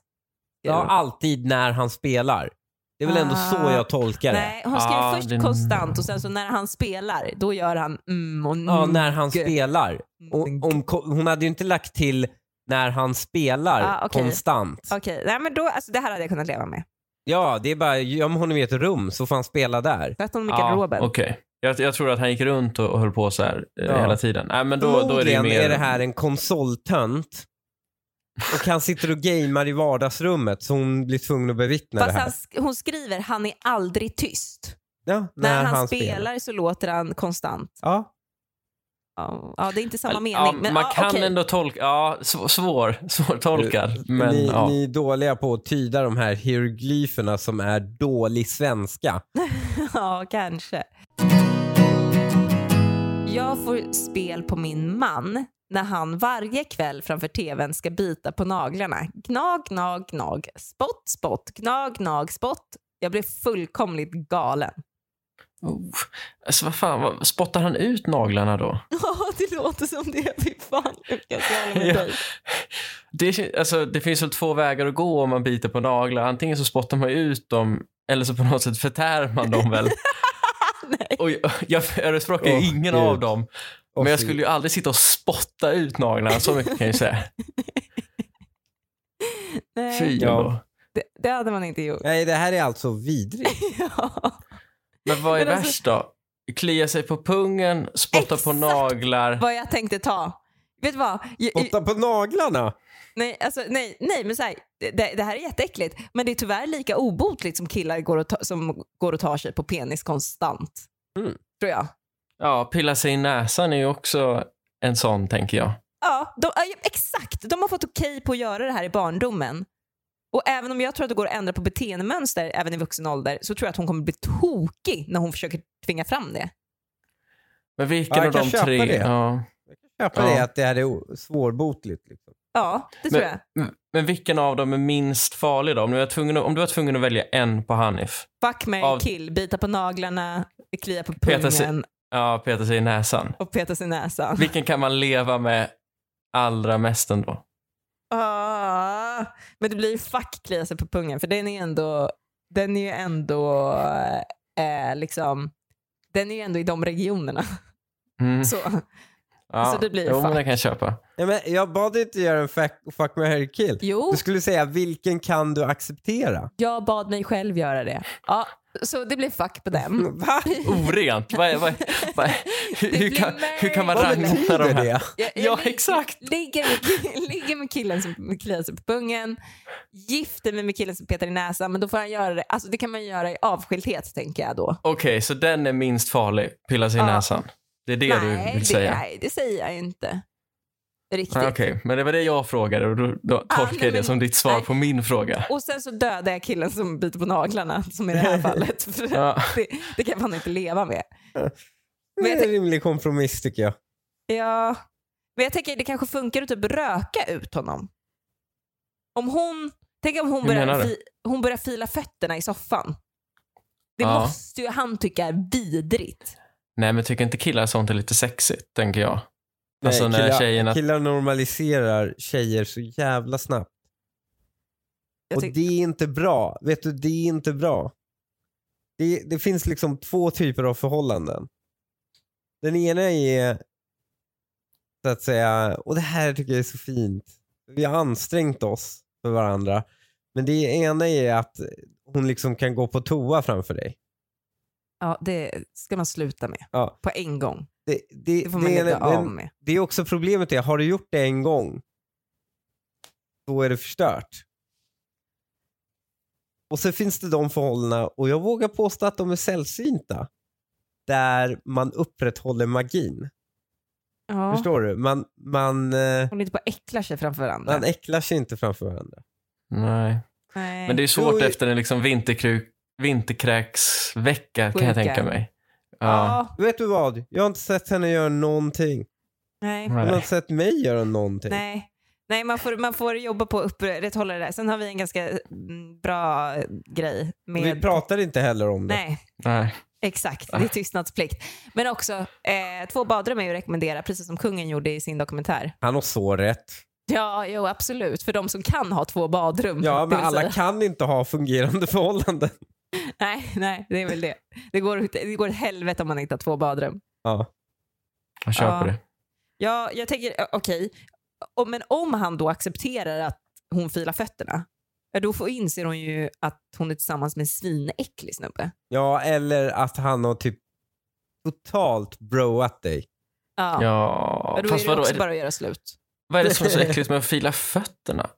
Speaker 1: Ja, alltid när han spelar. Det är väl ändå så
Speaker 2: Ah.
Speaker 1: jag tolkar det?
Speaker 2: Nej, hon skrev
Speaker 3: Ja,
Speaker 2: först
Speaker 3: det-
Speaker 2: konstant och sen så när han spelar, då gör han mm och mm.
Speaker 1: Ja, när han
Speaker 2: Gud.
Speaker 1: spelar. Och,
Speaker 2: Mm.
Speaker 1: om, ko- hon hade ju inte lagt till när han spelar
Speaker 2: Ah, okej.
Speaker 1: konstant.
Speaker 2: Okej, nej men då, alltså det här hade jag kunnat leva med.
Speaker 1: Ja, det är bara, om hon är i ett rum så får han spela där.
Speaker 2: Sätt honom i
Speaker 3: Ja,
Speaker 2: garderoben.
Speaker 3: Okej. Jag, jag tror att han gick runt och, och höll på så här eh,
Speaker 1: Ja.
Speaker 3: hela tiden. Nej, men då,
Speaker 1: Förmodligen
Speaker 3: då är det ju mer...
Speaker 1: här en konsoltönt. Och han sitter och gamear i vardagsrummet så hon blir tvungen att bevittna
Speaker 2: Fast
Speaker 1: det här.
Speaker 2: han, sk- hon skriver, han är aldrig tyst.
Speaker 1: Ja,
Speaker 2: När, han, spelar så låter han konstant.
Speaker 1: Ja.
Speaker 2: Ja, ja, det är inte samma mening.
Speaker 3: Ja,
Speaker 2: men,
Speaker 3: man
Speaker 2: ja,
Speaker 3: kan
Speaker 2: okej.
Speaker 3: ändå tolka, ja, sv- svår, svårtolkad. Men,
Speaker 1: Eh, ni,
Speaker 3: ja.
Speaker 1: ni är dåliga på att tyda de här hieroglyferna som är dålig svenska.
Speaker 2: Ja, kanske. Jag får spel på min man när han varje kväll framför tvn ska bita på naglarna. Gnag, gnag, gnag. Spott, spott. Gnag, gnag, spott. Jag blev fullkomligt galen.
Speaker 3: Oh. Alltså, vad fan, vad, spottar han ut naglarna då?
Speaker 2: Ja, det låter som det. Fy fan Lukas, jag håller
Speaker 3: Ja.
Speaker 2: med dig.
Speaker 3: Det, kän- alltså, det finns väl två vägar att gå om man biter på naglar. Antingen så spottar man ut dem eller så på något sätt förtär man dem väl. och jag, jag förespråkar ju
Speaker 1: Åh,
Speaker 3: ingen
Speaker 1: Gud.
Speaker 3: av dem.
Speaker 1: Och
Speaker 3: men jag
Speaker 1: fy-
Speaker 3: skulle ju aldrig sitta och spotta ut naglarna, så mycket kan jag ju säga. Fy
Speaker 2: Nej,
Speaker 1: Ja.
Speaker 3: ändå.
Speaker 2: det, det hade man inte gjort.
Speaker 1: Nej, det här är alltså vidrigt.
Speaker 2: Ja.
Speaker 3: Men vad är
Speaker 2: Men alltså-
Speaker 3: värst då? Klia sig på pungen, spotta på
Speaker 2: Exakt
Speaker 3: naglar.
Speaker 2: Vad jag tänkte ta. Vet du vad? Jag-
Speaker 1: Spotta på naglarna!
Speaker 2: Nej, alltså, nej, nej men så här, det- det, det här är jätteäckligt. Men det är tyvärr lika obotligt som killar går och ta, som går och tar sig på penis konstant.
Speaker 1: Mm.
Speaker 2: Tror jag.
Speaker 3: Ja, pilla sig i näsan är ju också en sån, tänker jag.
Speaker 2: Ja, de, ja, exakt. De har fått okej på att göra det här i barndomen. Och även om jag tror att det går att ändra på beteendemönster även i vuxen ålder så tror jag att hon kommer bli tokig när hon försöker tvinga fram det.
Speaker 1: Ja,
Speaker 3: Men vilken
Speaker 1: jag
Speaker 3: av
Speaker 1: kan
Speaker 3: de
Speaker 1: köpa
Speaker 3: tre...
Speaker 1: det.
Speaker 3: Ja.
Speaker 1: Jag
Speaker 3: Ja.
Speaker 1: köper det att det här är o- svårbotligt. Liksom.
Speaker 2: Ja, det tror jag.
Speaker 3: Men, men vilken av dem är minst farlig då? Om du, var tvungen att, om du var tvungen att välja en på Hanif.
Speaker 2: Fuck, marry,
Speaker 3: av-
Speaker 2: kill. Bita på naglarna, klia på
Speaker 3: Peta sig-
Speaker 2: pungen
Speaker 3: Ja, peta sig i näsan.
Speaker 2: och peta sig i näsan.
Speaker 3: Vilken kan man leva med allra mest ändå?
Speaker 2: Ah, men det blir ju fuck klia sig på pungen för den är ändå, den är ju ändå eh, liksom den är ju ändå i de regionerna.
Speaker 3: Mm.
Speaker 2: Så,
Speaker 3: ja.
Speaker 2: så det blir
Speaker 3: jo, men
Speaker 2: fuck.
Speaker 3: det kan jag köpa.
Speaker 1: Nej, men jag bad dig inte göra en fuck, fuck marry, kill.
Speaker 2: jo,
Speaker 1: Du skulle säga vilken kan du acceptera?
Speaker 2: jag bad mig själv göra det. Ja, så det blir fuck på dem.
Speaker 1: Va?
Speaker 3: Orent! Vad är, vad är, vad är, hur, hur, kan, hur kan man
Speaker 1: Vad
Speaker 2: Ranka
Speaker 3: rangordna de
Speaker 1: betyder
Speaker 3: här?
Speaker 1: det?
Speaker 2: Jag,
Speaker 3: Ja,
Speaker 2: lig-
Speaker 3: exakt.
Speaker 2: Ligger med, ki- ligger med killen som kliar sig på pungen, gifter mig med killen som petar i näsan, men då får han göra det. Alltså det kan man göra i avskildhet tänker jag då.
Speaker 3: Okej, så den är minst farlig. Pilla sig i
Speaker 2: Ja.
Speaker 3: näsan. Det är det du
Speaker 2: nej,
Speaker 3: vill
Speaker 2: det,
Speaker 3: säga?
Speaker 2: nej, det säger jag inte. Riktigt.
Speaker 3: Ah, Okej, men det var det jag frågade och då, då tolkar
Speaker 2: nej,
Speaker 3: jag det
Speaker 2: men-
Speaker 3: som ditt svar
Speaker 2: nej.
Speaker 3: på min fråga.
Speaker 2: Och sen så dödade jag killen som biter på naglarna, som i det här fallet. För
Speaker 3: Ja.
Speaker 2: det, det kan man inte leva med.
Speaker 1: Det
Speaker 2: Men jag
Speaker 1: är en rimlig kompromiss tycker jag.
Speaker 2: Ja. Men jag tänker det kanske funkar att typ röka ut honom. Om hon, tänk om hon
Speaker 3: Hur
Speaker 2: börjar,
Speaker 3: menar du?
Speaker 2: fi, hon börjar fila fötterna i soffan. Det
Speaker 3: Ja.
Speaker 2: måste ju han tycka är vidrigt.
Speaker 3: Nej, men tycker inte killar sånt är lite sexigt, tänker jag? alltså när
Speaker 1: killar,
Speaker 3: tjejerna...
Speaker 1: killar normaliserar tjejer så jävla snabbt.
Speaker 2: Jag
Speaker 1: Och
Speaker 2: tyck-
Speaker 1: det är inte bra. Vet du, det är inte bra. Det, det finns liksom två typer av förhållanden. Den ena är så att säga, och det här tycker jag är så fint. Vi har ansträngt oss för varandra. Men det ena är att hon liksom kan gå på toa framför dig.
Speaker 2: ja, det ska man sluta med.
Speaker 1: Ja.
Speaker 2: På en gång.
Speaker 1: Det, det,
Speaker 2: Det får man
Speaker 1: det, är-
Speaker 2: lägga
Speaker 1: den-
Speaker 2: av med.
Speaker 1: det är också problemet är, har du gjort det en gång, då är det förstört. Och sen finns det de förhållandena, och jag vågar påstå att de är sällsynta, där man upprätthåller magin.
Speaker 2: Ja.
Speaker 1: Förstår du? Man, man, eh,
Speaker 2: Hon inte bara äcklar sig framför varandra.
Speaker 1: man äcklar sig inte framför varandra.
Speaker 3: Nej.
Speaker 2: Nej.
Speaker 3: Men det är
Speaker 1: Jo,
Speaker 3: svårt
Speaker 1: ju-
Speaker 3: efter en liksom vinterkruk... vinterkräksvecka, kan
Speaker 2: Sjuka.
Speaker 3: jag tänka mig. Ja.
Speaker 2: ja.
Speaker 1: Vet du vad? Jag har inte sett henne göra någonting.
Speaker 2: Nej.
Speaker 1: Hon har
Speaker 3: Nej.
Speaker 1: inte sett mig göra någonting.
Speaker 2: Nej, Nej man, får, man får jobba på att upprätthålla det där. Sen har vi en ganska mm, bra grej. Med...
Speaker 1: Vi pratar inte heller om det. Ah.
Speaker 2: Nej,
Speaker 3: Nej.
Speaker 2: exakt. Det är tystnadsplikt. Men också, eh, två badrum är ju att rekommendera, precis som kungen gjorde i sin dokumentär.
Speaker 1: Han har så rätt.
Speaker 2: Ja, jo, absolut. För de som kan ha två badrum.
Speaker 1: Ja,
Speaker 2: det
Speaker 1: men
Speaker 2: vill
Speaker 1: alla
Speaker 2: säga.
Speaker 1: kan inte ha fungerande förhållanden.
Speaker 2: Nej, nej, det är väl det. Det går, det går åt helvete om man inte har två badrum.
Speaker 1: Ja.
Speaker 3: Jag köper
Speaker 2: Ja.
Speaker 3: det.
Speaker 2: Ja, jag tänker, ö- okej. Och- Men om han då accepterar att hon filar fötterna, ja, då får inser hon ju att hon är tillsammans med en svinäcklig snubbe.
Speaker 1: Ja, eller att han har typ totalt broat dig.
Speaker 2: Ja.
Speaker 3: Ja.
Speaker 2: Ja, då är
Speaker 3: Fast
Speaker 2: det
Speaker 3: vadå?
Speaker 2: också
Speaker 3: Är det,
Speaker 2: bara att göra slut.
Speaker 3: Vad är det som är så äckligt med att fila fötterna?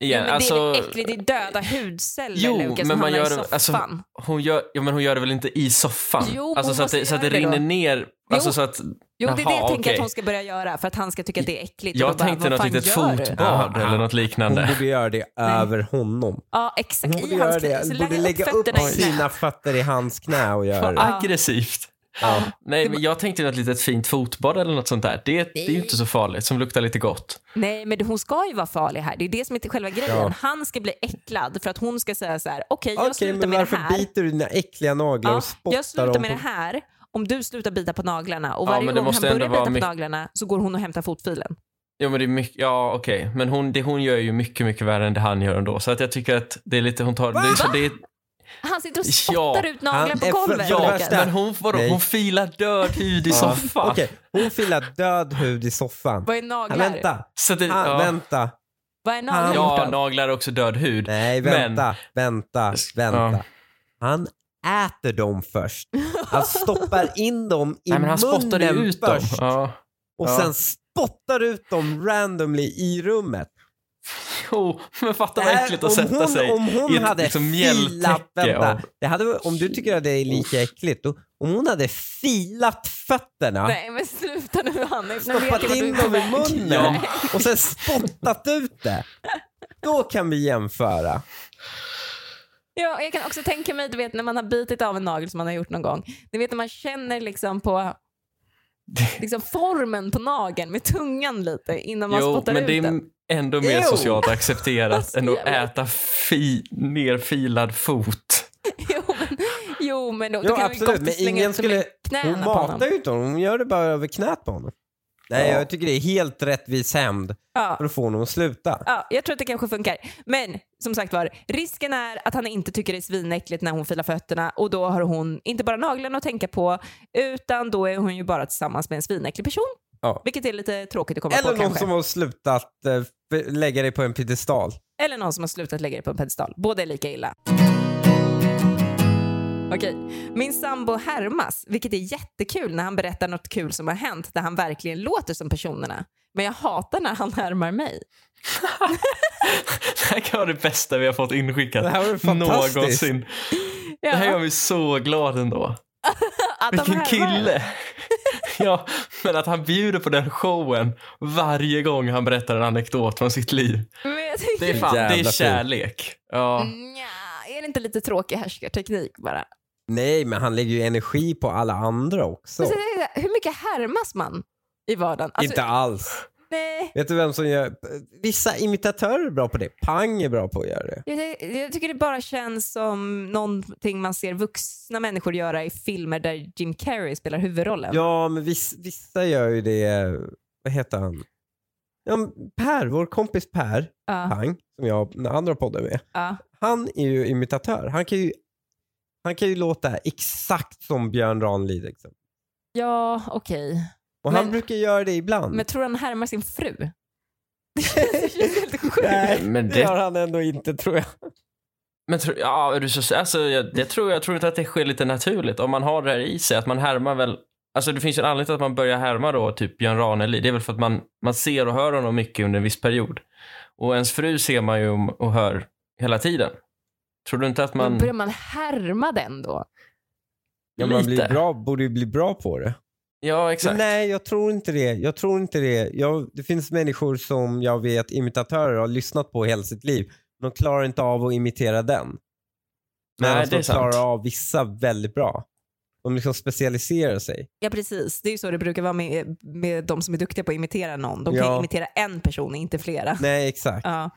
Speaker 2: Jo,
Speaker 3: igen.
Speaker 2: men det är
Speaker 3: alltså,
Speaker 2: väl äckligt, det är döda hudceller
Speaker 3: Jo,
Speaker 2: Lukas,
Speaker 3: men
Speaker 2: som
Speaker 3: man
Speaker 2: hamnar
Speaker 3: gör
Speaker 2: i
Speaker 3: det- alltså,
Speaker 2: soffan.
Speaker 3: hon, gör, ja, men hon gör det väl inte i soffan?
Speaker 2: Jo,
Speaker 3: alltså,
Speaker 2: hon
Speaker 3: så, att det,
Speaker 2: måste
Speaker 3: så att det
Speaker 2: göra det då.
Speaker 3: rinner ner. Alltså,
Speaker 2: Jo.
Speaker 3: så att,
Speaker 2: jo, det är det jag
Speaker 3: Jaha,
Speaker 2: tänker
Speaker 3: okej.
Speaker 2: att hon ska börja göra för att han ska tycka att det är äckligt. och
Speaker 3: jag
Speaker 2: då bara,
Speaker 3: tänkte
Speaker 2: "Vad
Speaker 3: något
Speaker 2: fan
Speaker 3: litet
Speaker 2: gör du?"
Speaker 3: fotbad eller något
Speaker 1: Hon
Speaker 3: liknande.
Speaker 1: borde göra det över honom.
Speaker 2: Ja, exakt.
Speaker 1: Hon borde
Speaker 2: I
Speaker 1: göra
Speaker 2: hans knä.
Speaker 1: det.
Speaker 2: Så
Speaker 1: Hon borde
Speaker 2: lägger
Speaker 1: lägga upp
Speaker 2: fötterna i knät.
Speaker 1: sina fötter i hans knä och göra det.
Speaker 2: Ja.
Speaker 3: Aggressivt.
Speaker 1: Ja.
Speaker 3: Nej, men jag tänkte något litet fint fotbad eller något sånt där. Det, det är ju inte så farligt, som luktar lite gott.
Speaker 2: Nej, men hon ska ju vara farlig här. Det är det som är själva grejen.
Speaker 1: Ja.
Speaker 2: Han ska bli äcklad för att hon ska säga så här, okej,
Speaker 1: Okej,
Speaker 2: jag slutar
Speaker 1: men
Speaker 2: med det
Speaker 1: varför
Speaker 2: här.
Speaker 1: biter du dina äckliga naglar
Speaker 2: Ja,
Speaker 1: och spottar
Speaker 2: jag slutar
Speaker 1: dem
Speaker 2: med
Speaker 1: på...
Speaker 2: det här om du slutar bita på naglarna. Och
Speaker 3: Ja,
Speaker 2: varje
Speaker 3: men det
Speaker 2: gång han
Speaker 3: måste ändå
Speaker 2: börjar bita
Speaker 3: vara
Speaker 2: på
Speaker 3: mycket-
Speaker 2: naglarna så går hon och hämtar fotfilen.
Speaker 3: Jo, men det är mycket, ja okej, men hon, det hon gör är ju mycket, mycket värre än det han gör ändå. Så att jag tycker att det är lite, hon tar, det är, så det är,
Speaker 2: Han sitter och
Speaker 3: Ja.
Speaker 2: spottar ut naglar
Speaker 1: Han
Speaker 2: på
Speaker 1: är Eh, för-
Speaker 2: golvet.
Speaker 1: för det
Speaker 3: ja,
Speaker 2: Lukas.
Speaker 1: värsta-
Speaker 3: men hon, vadå,
Speaker 1: Nej.
Speaker 3: hon filar död hud i
Speaker 1: Ja.
Speaker 3: soffan.
Speaker 1: Okej, hon filar död hud i soffan.
Speaker 2: Vad är
Speaker 1: Ah,
Speaker 2: naglar?
Speaker 1: vänta,
Speaker 3: Så att det,
Speaker 1: ah,
Speaker 3: ja,
Speaker 1: vänta.
Speaker 2: Vad är naglar?
Speaker 1: Han-
Speaker 2: gjort
Speaker 3: ja,
Speaker 2: av?
Speaker 3: naglar är också död hud.
Speaker 1: Nej,
Speaker 3: Men-
Speaker 1: vänta, vänta, vänta.
Speaker 3: Ja.
Speaker 1: Han äter dem först. Han stoppar in dem i
Speaker 3: Nej, men han spottar ju
Speaker 1: munnen
Speaker 3: ut dem.
Speaker 1: först.
Speaker 3: Ja.
Speaker 1: Och
Speaker 3: Ja.
Speaker 1: sen spottar ut dem randomly i rummet.
Speaker 3: Jo, men fatta
Speaker 1: Det
Speaker 3: vad
Speaker 1: här-
Speaker 3: äckligt
Speaker 1: Äh, om
Speaker 3: att sätta
Speaker 1: hon,
Speaker 3: sig
Speaker 1: Om hon
Speaker 3: i ett
Speaker 1: hade
Speaker 3: liksom
Speaker 1: filat,
Speaker 3: mjälltäcke
Speaker 1: vänta,
Speaker 3: av-
Speaker 1: det hade, om du tycker att det är lika äckligt, då, om hon hade filat fötterna,
Speaker 2: Nej, men sluta nu Hanna. Nu vet jag
Speaker 1: stoppat
Speaker 2: vad du
Speaker 1: in
Speaker 2: är på
Speaker 1: dem i
Speaker 2: väg.
Speaker 1: munnen
Speaker 3: Ja.
Speaker 1: och sen spottat ut det. Då kan vi jämföra.
Speaker 2: Ja, och jag kan också tänka mig, du vet när man har bitit av en nagel som man har gjort någon gång. Du vet när man känner liksom på liksom formen på nageln med tungan lite innan man
Speaker 3: Jo,
Speaker 2: spottar
Speaker 3: men
Speaker 2: ut
Speaker 3: det är
Speaker 2: den.
Speaker 3: ändå mer
Speaker 1: Ew.
Speaker 3: socialt accepterat än att
Speaker 2: jävla-
Speaker 3: äta fi, mer filad fot.
Speaker 2: Jo, men, jo, men då,
Speaker 1: Ja,
Speaker 2: då kan vi
Speaker 1: absolut,
Speaker 2: gott
Speaker 1: men
Speaker 2: slänga
Speaker 1: ingen
Speaker 2: ut skulle...
Speaker 1: skulle... Hon
Speaker 2: knäna på honom.
Speaker 1: matar ju inte honom, hon gör det bara över knät på honom. Nej,
Speaker 3: Ja.
Speaker 1: jag tycker det är helt rättvis hämnd för
Speaker 2: Ja.
Speaker 1: att få honom att sluta.
Speaker 2: Ja, jag tror att det kanske funkar. Men som sagt var, risken är att han inte tycker det är svinäckligt när hon filar fötterna och då har hon inte bara naglarna att tänka på utan då är hon ju bara tillsammans med en svinäcklig person.
Speaker 1: Ja.
Speaker 2: Vilket är lite tråkigt att komma
Speaker 1: Eller
Speaker 2: på
Speaker 1: någon
Speaker 2: kanske.
Speaker 1: som har slutat eh, f- lägga dig på en piedestal.
Speaker 2: Eller någon som har slutat lägga det på en pedestal. Båda är lika illa. Okej, min sambo härmas, vilket är jättekul när han berättar något kul som har hänt där han verkligen låter som personerna. Men jag hatar när han härmar mig.
Speaker 3: Det här kan vara det bästa vi har fått inskickat
Speaker 1: Det här var ju fantastiskt.
Speaker 3: någonsin.
Speaker 2: Ja,
Speaker 3: Det här gör mig så glad ändå.
Speaker 2: att de
Speaker 3: Vilken
Speaker 2: härmar.
Speaker 3: kille! ja, men att han bjuder på den showen varje gång han berättar en anekdot från sitt liv.
Speaker 2: Men jag tycker-
Speaker 3: Det är fan, det
Speaker 1: Jävla
Speaker 3: är
Speaker 1: fint.
Speaker 3: kärlek. Ja.
Speaker 2: Nja, är det inte lite tråkig härskarteknik bara?
Speaker 1: Nej, men han lägger ju energi på alla andra också.
Speaker 2: Och så är Alltså, det- Hur mycket härmas man i vardagen? Alltså,
Speaker 1: Inte alls.
Speaker 2: nej,
Speaker 1: Vet du vem som gör... Vissa imitatörer är bra på det. Pang är bra på att göra det.
Speaker 2: jag, jag tycker det bara känns som någonting man ser vuxna människor göra i filmer där Jim Carrey spelar huvudrollen.
Speaker 1: Ja, men vissa, vissa gör ju det... eh, Vad heter han? Ja, men per, vår kompis Per
Speaker 2: Ja,
Speaker 1: Pang, som jag har den andra podden med.
Speaker 2: ja.
Speaker 1: Han är ju imitatör. Han kan ju, han kan ju låta exakt som Björn Ranelid. Liksom.
Speaker 2: ja okej.
Speaker 1: Och han
Speaker 2: Men-
Speaker 1: brukar göra det ibland.
Speaker 2: Men tror han härmar sin fru? det känns helt sjukt.
Speaker 1: Nej,
Speaker 3: Men
Speaker 1: det
Speaker 3: det
Speaker 1: gör han ändå inte tror jag.
Speaker 3: Men tro, ja, är du så, alltså, jag, det tror, jag tror inte att det sker lite naturligt om man har det här i sig. Att man härmar väl, alltså det finns ju en anledning till att man börjar härma då typ Björn Ranelid. Det är väl för att man, man ser och hör honom mycket under en viss period. Och ens fru ser man ju och hör hela tiden. Tror du inte att
Speaker 2: Men
Speaker 3: man...
Speaker 2: Börjar man härma den då?
Speaker 1: Ja, man blir
Speaker 3: lite?
Speaker 1: bra, borde ju bli bra på det.
Speaker 3: Ja,
Speaker 1: Men
Speaker 3: exakt.
Speaker 1: nej, jag tror inte det. Jag tror inte det. Jag, det finns människor som jag vet imitatörer har lyssnat på hela sitt liv. De klarar inte av att imitera den.
Speaker 3: Nej,
Speaker 1: Medan
Speaker 3: det är
Speaker 1: de
Speaker 3: sant.
Speaker 1: klarar av vissa väldigt bra. De liksom specialiserar sig.
Speaker 2: Ja precis, det är ju så det brukar vara med, med de som är duktiga på att imitera någon. De kan
Speaker 1: Ja.
Speaker 2: ju imitera en person, inte flera.
Speaker 1: Nej, exakt.
Speaker 2: Ja.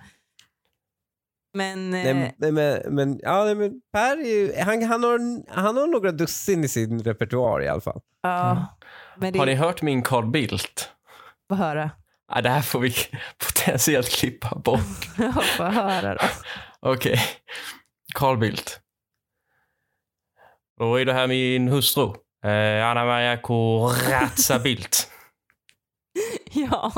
Speaker 2: Men,
Speaker 1: Nej,
Speaker 2: eh,
Speaker 1: men- nej, men, men, ja, nej, men Per är ju, han, han, har, han har några dussin i sin repertoar i alla fall. Mm.
Speaker 2: ja. men det
Speaker 3: Har ni
Speaker 2: är
Speaker 3: hört min Carl Bildt?
Speaker 2: få höra.
Speaker 3: Ja, det här får vi potentiellt klippa bort.
Speaker 2: Ja, få höra då.
Speaker 3: Okej. Carl Bildt. Då är det här min hustru. Eh, Anna Maria Corazza Bildt.
Speaker 2: Ja,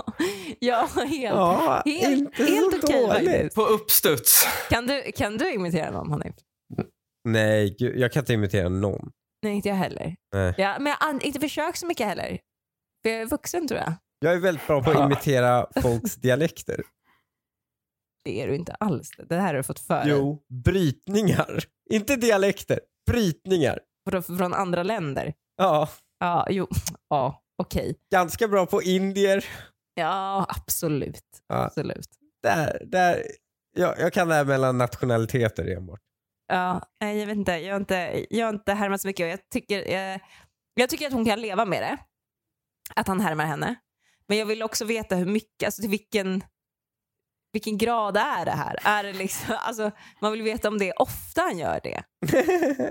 Speaker 2: ja helt,
Speaker 1: Ja,
Speaker 2: helt,
Speaker 1: inte
Speaker 2: helt
Speaker 1: så
Speaker 2: okej
Speaker 1: dåligt.
Speaker 2: faktiskt.
Speaker 3: På uppstuds.
Speaker 2: Kan du, kan du imitera någon Hanif?
Speaker 1: Nej, gud, jag kan inte imitera någon.
Speaker 2: Nej, inte jag heller.
Speaker 1: Nej.
Speaker 2: Ja, men jag har an- inte försökt så mycket heller. För jag är vuxen tror jag.
Speaker 1: Jag är väldigt bra på att imitera folks dialekter.
Speaker 2: Det är du inte alls. Det här har du fått för dig.
Speaker 1: Jo, brytningar. Inte dialekter, brytningar.
Speaker 2: Från- från andra länder.
Speaker 1: Ja,
Speaker 2: Ja, jo. Ja, okej.
Speaker 1: ganska bra på indier.
Speaker 2: Ja, absolut.
Speaker 1: Ja.
Speaker 2: Absolut.
Speaker 1: Där, där. Jag, jag kan det här mellan nationaliteter enbart.
Speaker 2: Ja, nej, jag vet inte. Jag har inte, jag har inte härmat så mycket. och Jag tycker, eh, jag tycker att hon kan leva med det. Att han härmar henne. Men jag vill också veta hur mycket, alltså till vilken, vilken grad är det här? Är det liksom, alltså, man vill veta om det är ofta han gör det.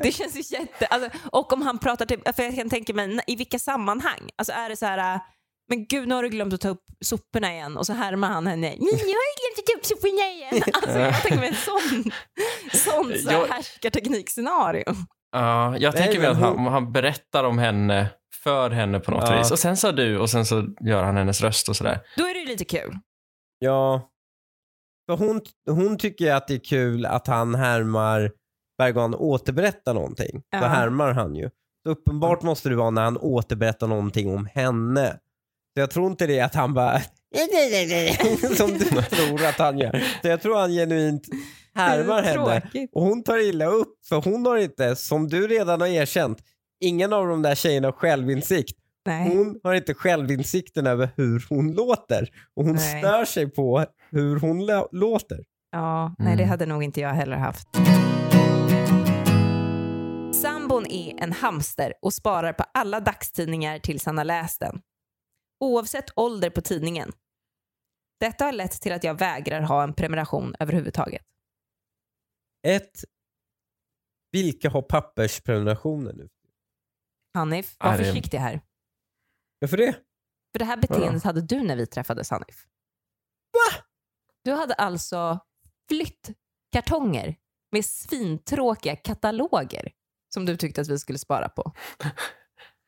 Speaker 2: Det känns ju jätte... Alltså, och om han pratar till... För jag kan tänka mig, i vilka sammanhang? Alltså är det så här... äh, Men gud, nu har du glömt att ta upp soporna igen. Och så härmar han henne. Ni har ju glömt att ta upp soporna igen. Alltså, jag tänker mig en sån, sån så här
Speaker 3: Jag-
Speaker 2: härskarteknikscenario.
Speaker 3: Ja, jag
Speaker 1: Nej,
Speaker 3: tänker mig
Speaker 1: men
Speaker 3: att han,
Speaker 1: hon-
Speaker 3: han berättar om henne för henne på något
Speaker 1: Ja.
Speaker 3: vis. Och sen sa du och sen så gör han hennes röst och sådär.
Speaker 2: Då är det ju lite kul.
Speaker 1: Ja. För hon, hon tycker ju att det är kul att han härmar, varje gång han återberättar någonting,
Speaker 2: Ja.
Speaker 1: så härmar han ju. Så uppenbart måste det vara när han återberättar någonting om henne. Så jag tror inte det är att han bara som du tror att han gör. Så jag tror han genuint härmar
Speaker 2: Det är
Speaker 1: henne.
Speaker 2: Tråkigt.
Speaker 1: Och hon tar illa upp för hon har inte, som du redan har erkänt, ingen av de där tjejerna har självinsikt.
Speaker 3: Mm.
Speaker 2: Nej.
Speaker 1: Hon har inte självinsikten över hur hon låter och hon
Speaker 2: Nej.
Speaker 1: stör sig på hur hon lå- låter.
Speaker 2: Ja, nej, det
Speaker 3: Mm.
Speaker 2: hade nog inte jag heller haft. Sambon är en hamster och sparar på alla dagstidningar tills han har läst den. Oavsett ålder på tidningen. Detta har lett till att jag vägrar ha en prenumeration överhuvudtaget.
Speaker 1: Ett, vilka har pappersprenumerationer nu?
Speaker 2: Hanif, var
Speaker 3: Ja, det-
Speaker 2: försiktig här.
Speaker 1: Varför det?
Speaker 2: För det här beteendet hade du när vi träffades Hanif. Du hade alltså flyttkartonger med svintråkiga kataloger som du tyckte att vi skulle spara på.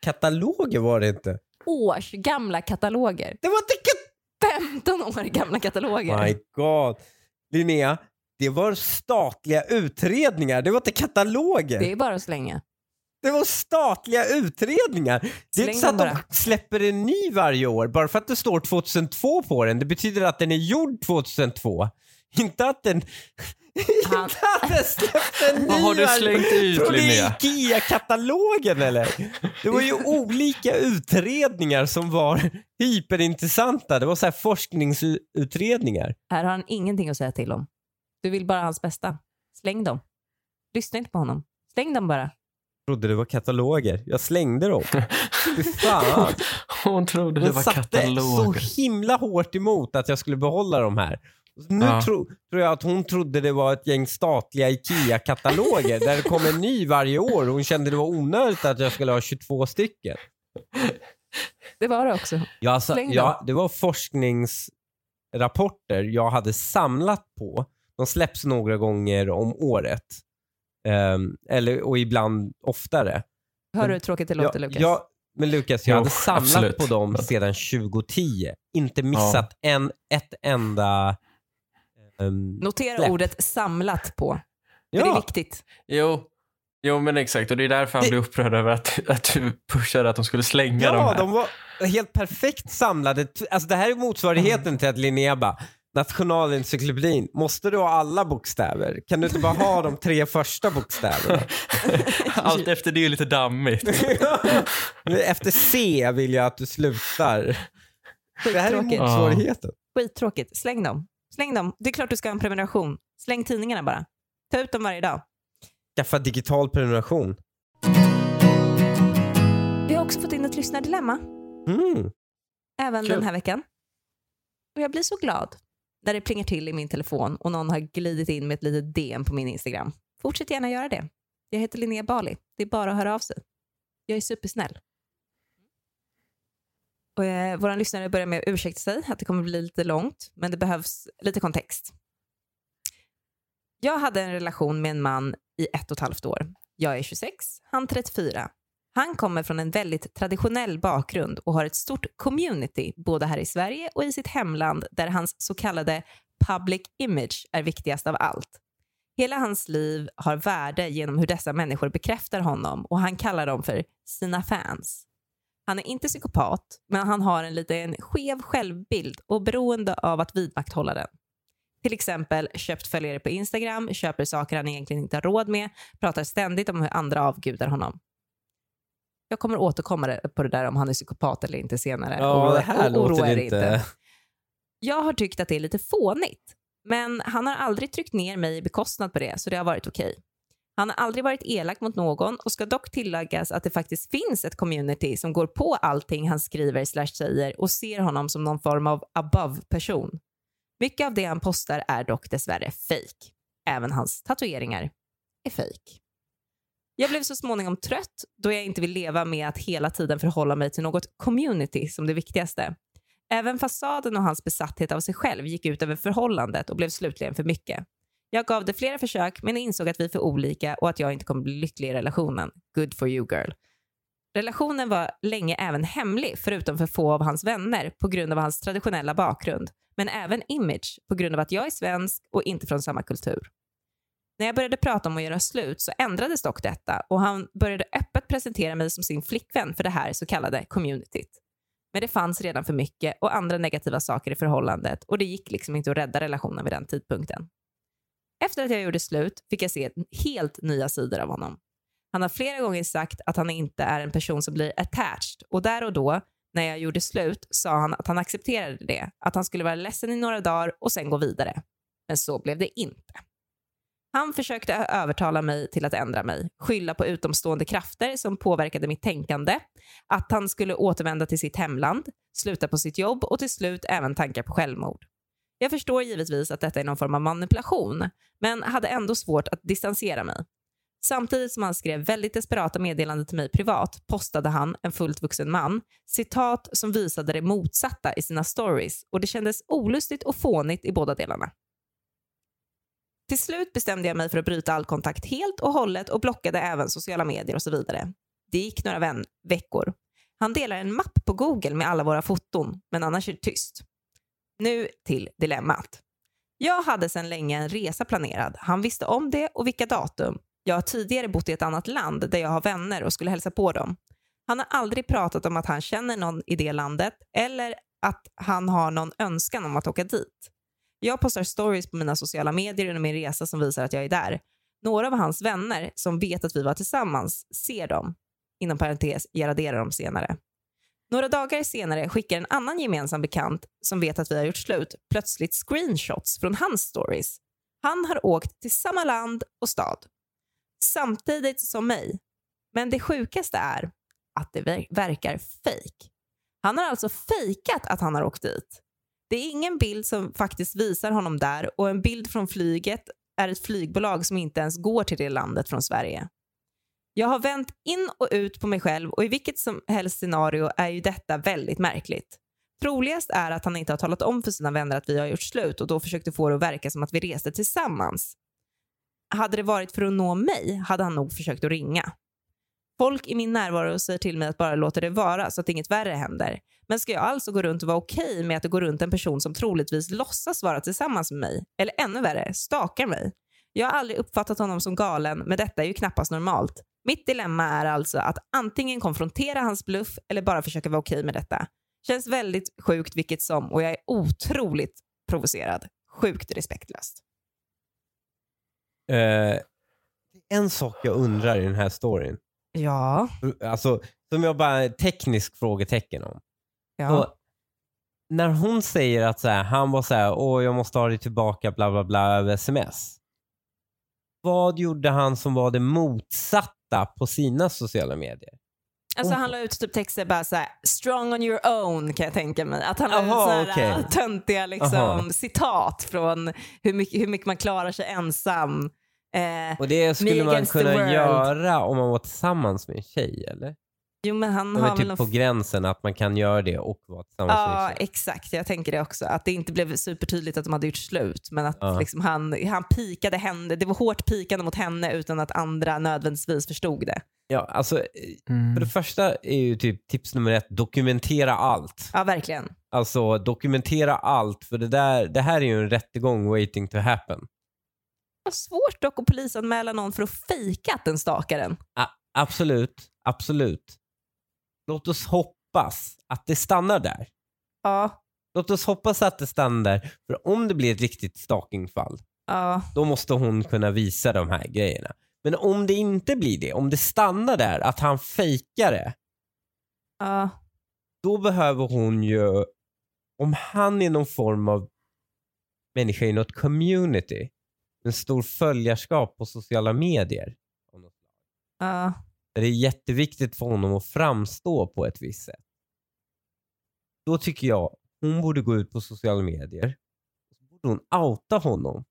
Speaker 1: Kataloger var det inte.
Speaker 2: Årsgamla kataloger.
Speaker 1: Det var inte kat-
Speaker 2: 15 år gamla kataloger.
Speaker 1: My God. Linnea, det var statliga utredningar. Det var inte kataloger.
Speaker 2: Det
Speaker 1: Det,
Speaker 2: är bara att slänga.
Speaker 1: var statliga utredningar. Det är
Speaker 2: Släng
Speaker 1: inte så att
Speaker 2: dem
Speaker 1: de släpper en ny varje år. Bara för att det står 2002 på den, det betyder att den är gjord 2002. Inte att den...
Speaker 2: Han-
Speaker 1: inte att den släppte en ny
Speaker 3: Vad har du
Speaker 1: varje-
Speaker 3: slängt ut
Speaker 1: Tror du det
Speaker 3: Linnea?
Speaker 1: är IKEA-katalogen eller? Det var ju olika utredningar som var hyperintressanta. Det var så här forskningsutredningar.
Speaker 2: Här har han ingenting att säga till om. Du vill bara hans bästa. Släng dem. Lyssna inte på honom. Släng dem bara.
Speaker 1: Jag trodde det var kataloger. Jag slängde dem. Fy fan.
Speaker 3: Hon trodde det
Speaker 1: Hon
Speaker 3: var
Speaker 1: satte så
Speaker 3: kataloger.
Speaker 1: himla hårt emot att jag skulle behålla de här. Nu
Speaker 3: Ja.
Speaker 1: tro, tror jag att hon trodde det var ett gäng statliga IKEA-kataloger där det kom en ny varje år och hon kände det var onödigt att jag skulle ha 22 stycken.
Speaker 2: Det var det också.
Speaker 1: Ja, alltså,
Speaker 2: Släng dem.
Speaker 1: ja, det var forskningsrapporter jag hade samlat på. De släpps några gånger om året. Ehm, eller, och ibland oftare.
Speaker 2: Hör du hur tråkigt det låter
Speaker 1: jag,
Speaker 2: Lukas?
Speaker 1: Jag, men Lukas, jag
Speaker 3: Jo,
Speaker 1: hade samlat
Speaker 3: absolut.
Speaker 1: på dem sedan 2010. Inte missat en, ett enda... ehm,
Speaker 2: Notera
Speaker 1: Släpp.
Speaker 2: ordet samlat på. För Det är
Speaker 1: ja,
Speaker 2: viktigt.
Speaker 3: Jo. jo, men exakt. Och det är därför han
Speaker 1: Det-
Speaker 3: blev upprörd över att, att du pushade att de skulle slänga de
Speaker 1: ja
Speaker 3: här.
Speaker 1: de var helt perfekt samlade. T- Alltså, det här är motsvarigheten till att Linnea bara, Nationalencyklopedin, måste du ha alla bokstäver? Kan du inte bara ha de tre första bokstäverna?
Speaker 3: Allt efter det är lite dammigt.
Speaker 1: Efter C vill jag att du slutar. Det här är
Speaker 2: Skittråkigt.
Speaker 3: Ja.
Speaker 1: motsvarigheten.
Speaker 2: Skittråkigt. Släng dem. Släng dem. Det är klart du ska ha en prenumeration. Släng tidningarna bara. Ta ut dem varje dag.
Speaker 1: Skaffa digital prenumeration.
Speaker 2: Vi har också fått in ett lyssnardilemma.
Speaker 1: Mm.
Speaker 2: även
Speaker 1: Kul.
Speaker 2: den här veckan. Och jag blir så glad när det plingar till i min telefon och någon har glidit in med ett litet DM på min Instagram. Fortsätt gärna göra det. Jag heter Linnea Bali. Det är bara att höra av sig. Jag är supersnäll. Och, eh, vår lyssnare börjar med att ursäkta sig att det kommer bli lite långt, men det behövs lite kontext. Jag hade en relation med en man i ett och ett halvt år. Jag är 26, han 34. Han kommer från en väldigt traditionell bakgrund och har ett stort community både här i Sverige och i sitt hemland där hans så kallade public image är viktigast av allt. Hela hans liv har värde genom hur dessa människor bekräftar honom och han kallar dem för sina fans. Han är inte psykopat, men han har en lite en skev självbild och beroende av att vidmakthålla den. Till exempel köpt följare på Instagram, köper saker han egentligen inte har råd med, pratar ständigt om hur andra avgudar honom. Jag kommer återkomma på det där om han är psykopat eller inte senare.
Speaker 1: Ja,
Speaker 2: Oroa-
Speaker 1: det här
Speaker 2: oroa
Speaker 1: låter
Speaker 2: er
Speaker 1: det inte.
Speaker 2: Jag har tyckt att det är lite fånigt, men han har aldrig tryckt ner mig i bekostnad på det, så det har varit okej. Han har aldrig varit elak mot någon och ska dock tilläggas att det faktiskt finns ett community som går på allting han skriver slash säger och ser honom som någon form av above-person. Mycket av det han postar är dock dessvärre fejk. Även hans tatueringar är fejk. Jag blev så småningom trött då jag inte vill leva med att hela tiden förhålla mig till något community som det viktigaste. Även fasaden och hans besatthet av sig själv gick ut över förhållandet och blev slutligen för mycket. Jag gav det flera försök men insåg att vi är för olika och att jag inte kommer bli lycklig i relationen. Good for you girl. Relationen var länge även hemlig förutom för få av hans vänner på grund av hans traditionella bakgrund men även image på grund av att jag är svensk och inte från samma kultur. När jag började prata om att göra slut så ändrades dock detta och han började öppet presentera mig som sin flickvän för det här så kallade communityt. Men det fanns redan för mycket och andra negativa saker i förhållandet och det gick liksom inte att rädda relationen vid den tidpunkten. Efter att jag gjorde slut fick jag se helt nya sidor av honom. Han har flera gånger sagt att han inte är en person som blir attached och där och då, när jag gjorde slut, sa han att han accepterade det, att han skulle vara ledsen i några dagar och sen gå vidare. Men så blev det inte. Han försökte övertala mig till att ändra mig, skylla på utomstående krafter som påverkade mitt tänkande, att han skulle återvända till sitt hemland, sluta på sitt jobb och till slut även tankar på självmord. Jag förstår givetvis att detta är någon form av manipulation, men hade ändå svårt att distansera mig. Samtidigt som han skrev väldigt desperata meddelanden till mig privat postade han, en fullt vuxen man, citat som visade det motsatta i sina stories och det kändes olustigt och fånigt i båda delarna. Till slut bestämde jag mig för att bryta all kontakt helt och hållet och blockade även sociala medier och så vidare. Det gick några vän- veckor. Han delar en mapp på Google med alla våra foton, men annars är det tyst. Nu till dilemmat. Jag hade sedan länge en resa planerad. Han visste om det och vilka datum. Jag har tidigare bott i ett annat land där jag har vänner och skulle hälsa på dem. Han har aldrig pratat om att han känner någon i det landet eller att han har någon önskan om att åka dit. Jag postar stories på mina sociala medier under min resa som visar att jag är där. Några av hans vänner som vet att vi var tillsammans ser dem. Inom parentes, jag raderar dem senare. Några dagar senare skickar en annan gemensam bekant som vet att vi har gjort slut plötsligt screenshots från hans stories. Han har åkt till samma land och stad. Samtidigt som mig. Men det sjukaste är att det ver- verkar fake. Han har alltså fejkat att han har åkt dit. Det är ingen bild som faktiskt visar honom där och en bild från flyget är ett flygbolag som inte ens går till det landet från Sverige. Jag har vänt in och ut på mig själv och i vilket som helst scenario är ju detta väldigt märkligt. Troligast är att han inte har talat om för sina vänner att vi har gjort slut och då försökte få det att verka som att vi reste tillsammans. Hade det varit för att nå mig hade han nog försökt att ringa. Folk i min närvaro säger till mig att bara låta det vara så att inget värre händer. Men ska jag alltså gå runt och vara okej med att det går runt en person som troligtvis låtsas vara tillsammans med mig? Eller ännu värre, stakar mig? Jag har aldrig uppfattat honom som galen, men detta är ju knappast normalt. Mitt dilemma är alltså att antingen konfrontera hans bluff eller bara försöka vara okej med detta. Känns väldigt sjukt vilket som och jag är otroligt provocerad. Sjukt respektlöst.
Speaker 1: Eh, en sak jag undrar i den här storyn,
Speaker 2: Ja.
Speaker 1: alltså, som jag bara teknisk frågetecken om.
Speaker 2: ja.
Speaker 1: Så, när hon säger att så här, han var så här, åh jag måste ha dig tillbaka bla bla bla över sms. Vad gjorde han som var det motsatta på sina sociala medier?
Speaker 2: Alltså han la ut typ texter bara såhär, strong on your own kan jag tänka mig. Att han la
Speaker 1: Aha,
Speaker 2: ut såhär
Speaker 1: okej.
Speaker 2: töntiga liksom,
Speaker 1: Aha.
Speaker 2: citat från hur mycket, hur mycket man klarar sig ensam. Eh,
Speaker 1: Och det skulle man
Speaker 2: against the
Speaker 1: kunna
Speaker 2: world.
Speaker 1: göra om man var tillsammans med en tjej eller?
Speaker 2: jo men han
Speaker 1: Det
Speaker 2: har
Speaker 1: var
Speaker 2: väl
Speaker 1: typ
Speaker 2: någon
Speaker 1: på gränsen att man kan göra det och vara tillsammans med
Speaker 2: Ja,
Speaker 1: en tjej.
Speaker 2: exakt. Jag tänker det också. Att det inte blev supertydligt att de hade gjort slut, men att
Speaker 1: Ja.
Speaker 2: liksom han, han pikade henne. Det var hårt pikande mot henne utan att andra nödvändigtvis förstod det.
Speaker 1: Ja, alltså, eh, för det första är ju typ tips nummer ett, dokumentera allt.
Speaker 2: Ja, verkligen.
Speaker 1: Alltså dokumentera allt, för det, där, det här är ju en rättegång waiting to happen.
Speaker 2: Det var svårt dock att polisanmäla någon för att fejka att den stakar en.
Speaker 1: A- absolut, absolut. Låt oss hoppas att det stannar där.
Speaker 2: Ja,
Speaker 1: Låt oss hoppas att det stannar där. För om det blir ett riktigt stalkingfall,
Speaker 2: Ja,
Speaker 1: då måste hon kunna visa de här grejerna. Men om det inte blir det, om det stannar där, att han fejkar det,
Speaker 2: ja.
Speaker 1: då behöver hon ju, om han är någon form av människa i något community, en stor följarskap på sociala medier,
Speaker 2: ja.
Speaker 1: där det är jätteviktigt för honom att framstå på ett visst sätt. Då tycker jag hon borde gå ut på sociala medier och så borde hon outa honom.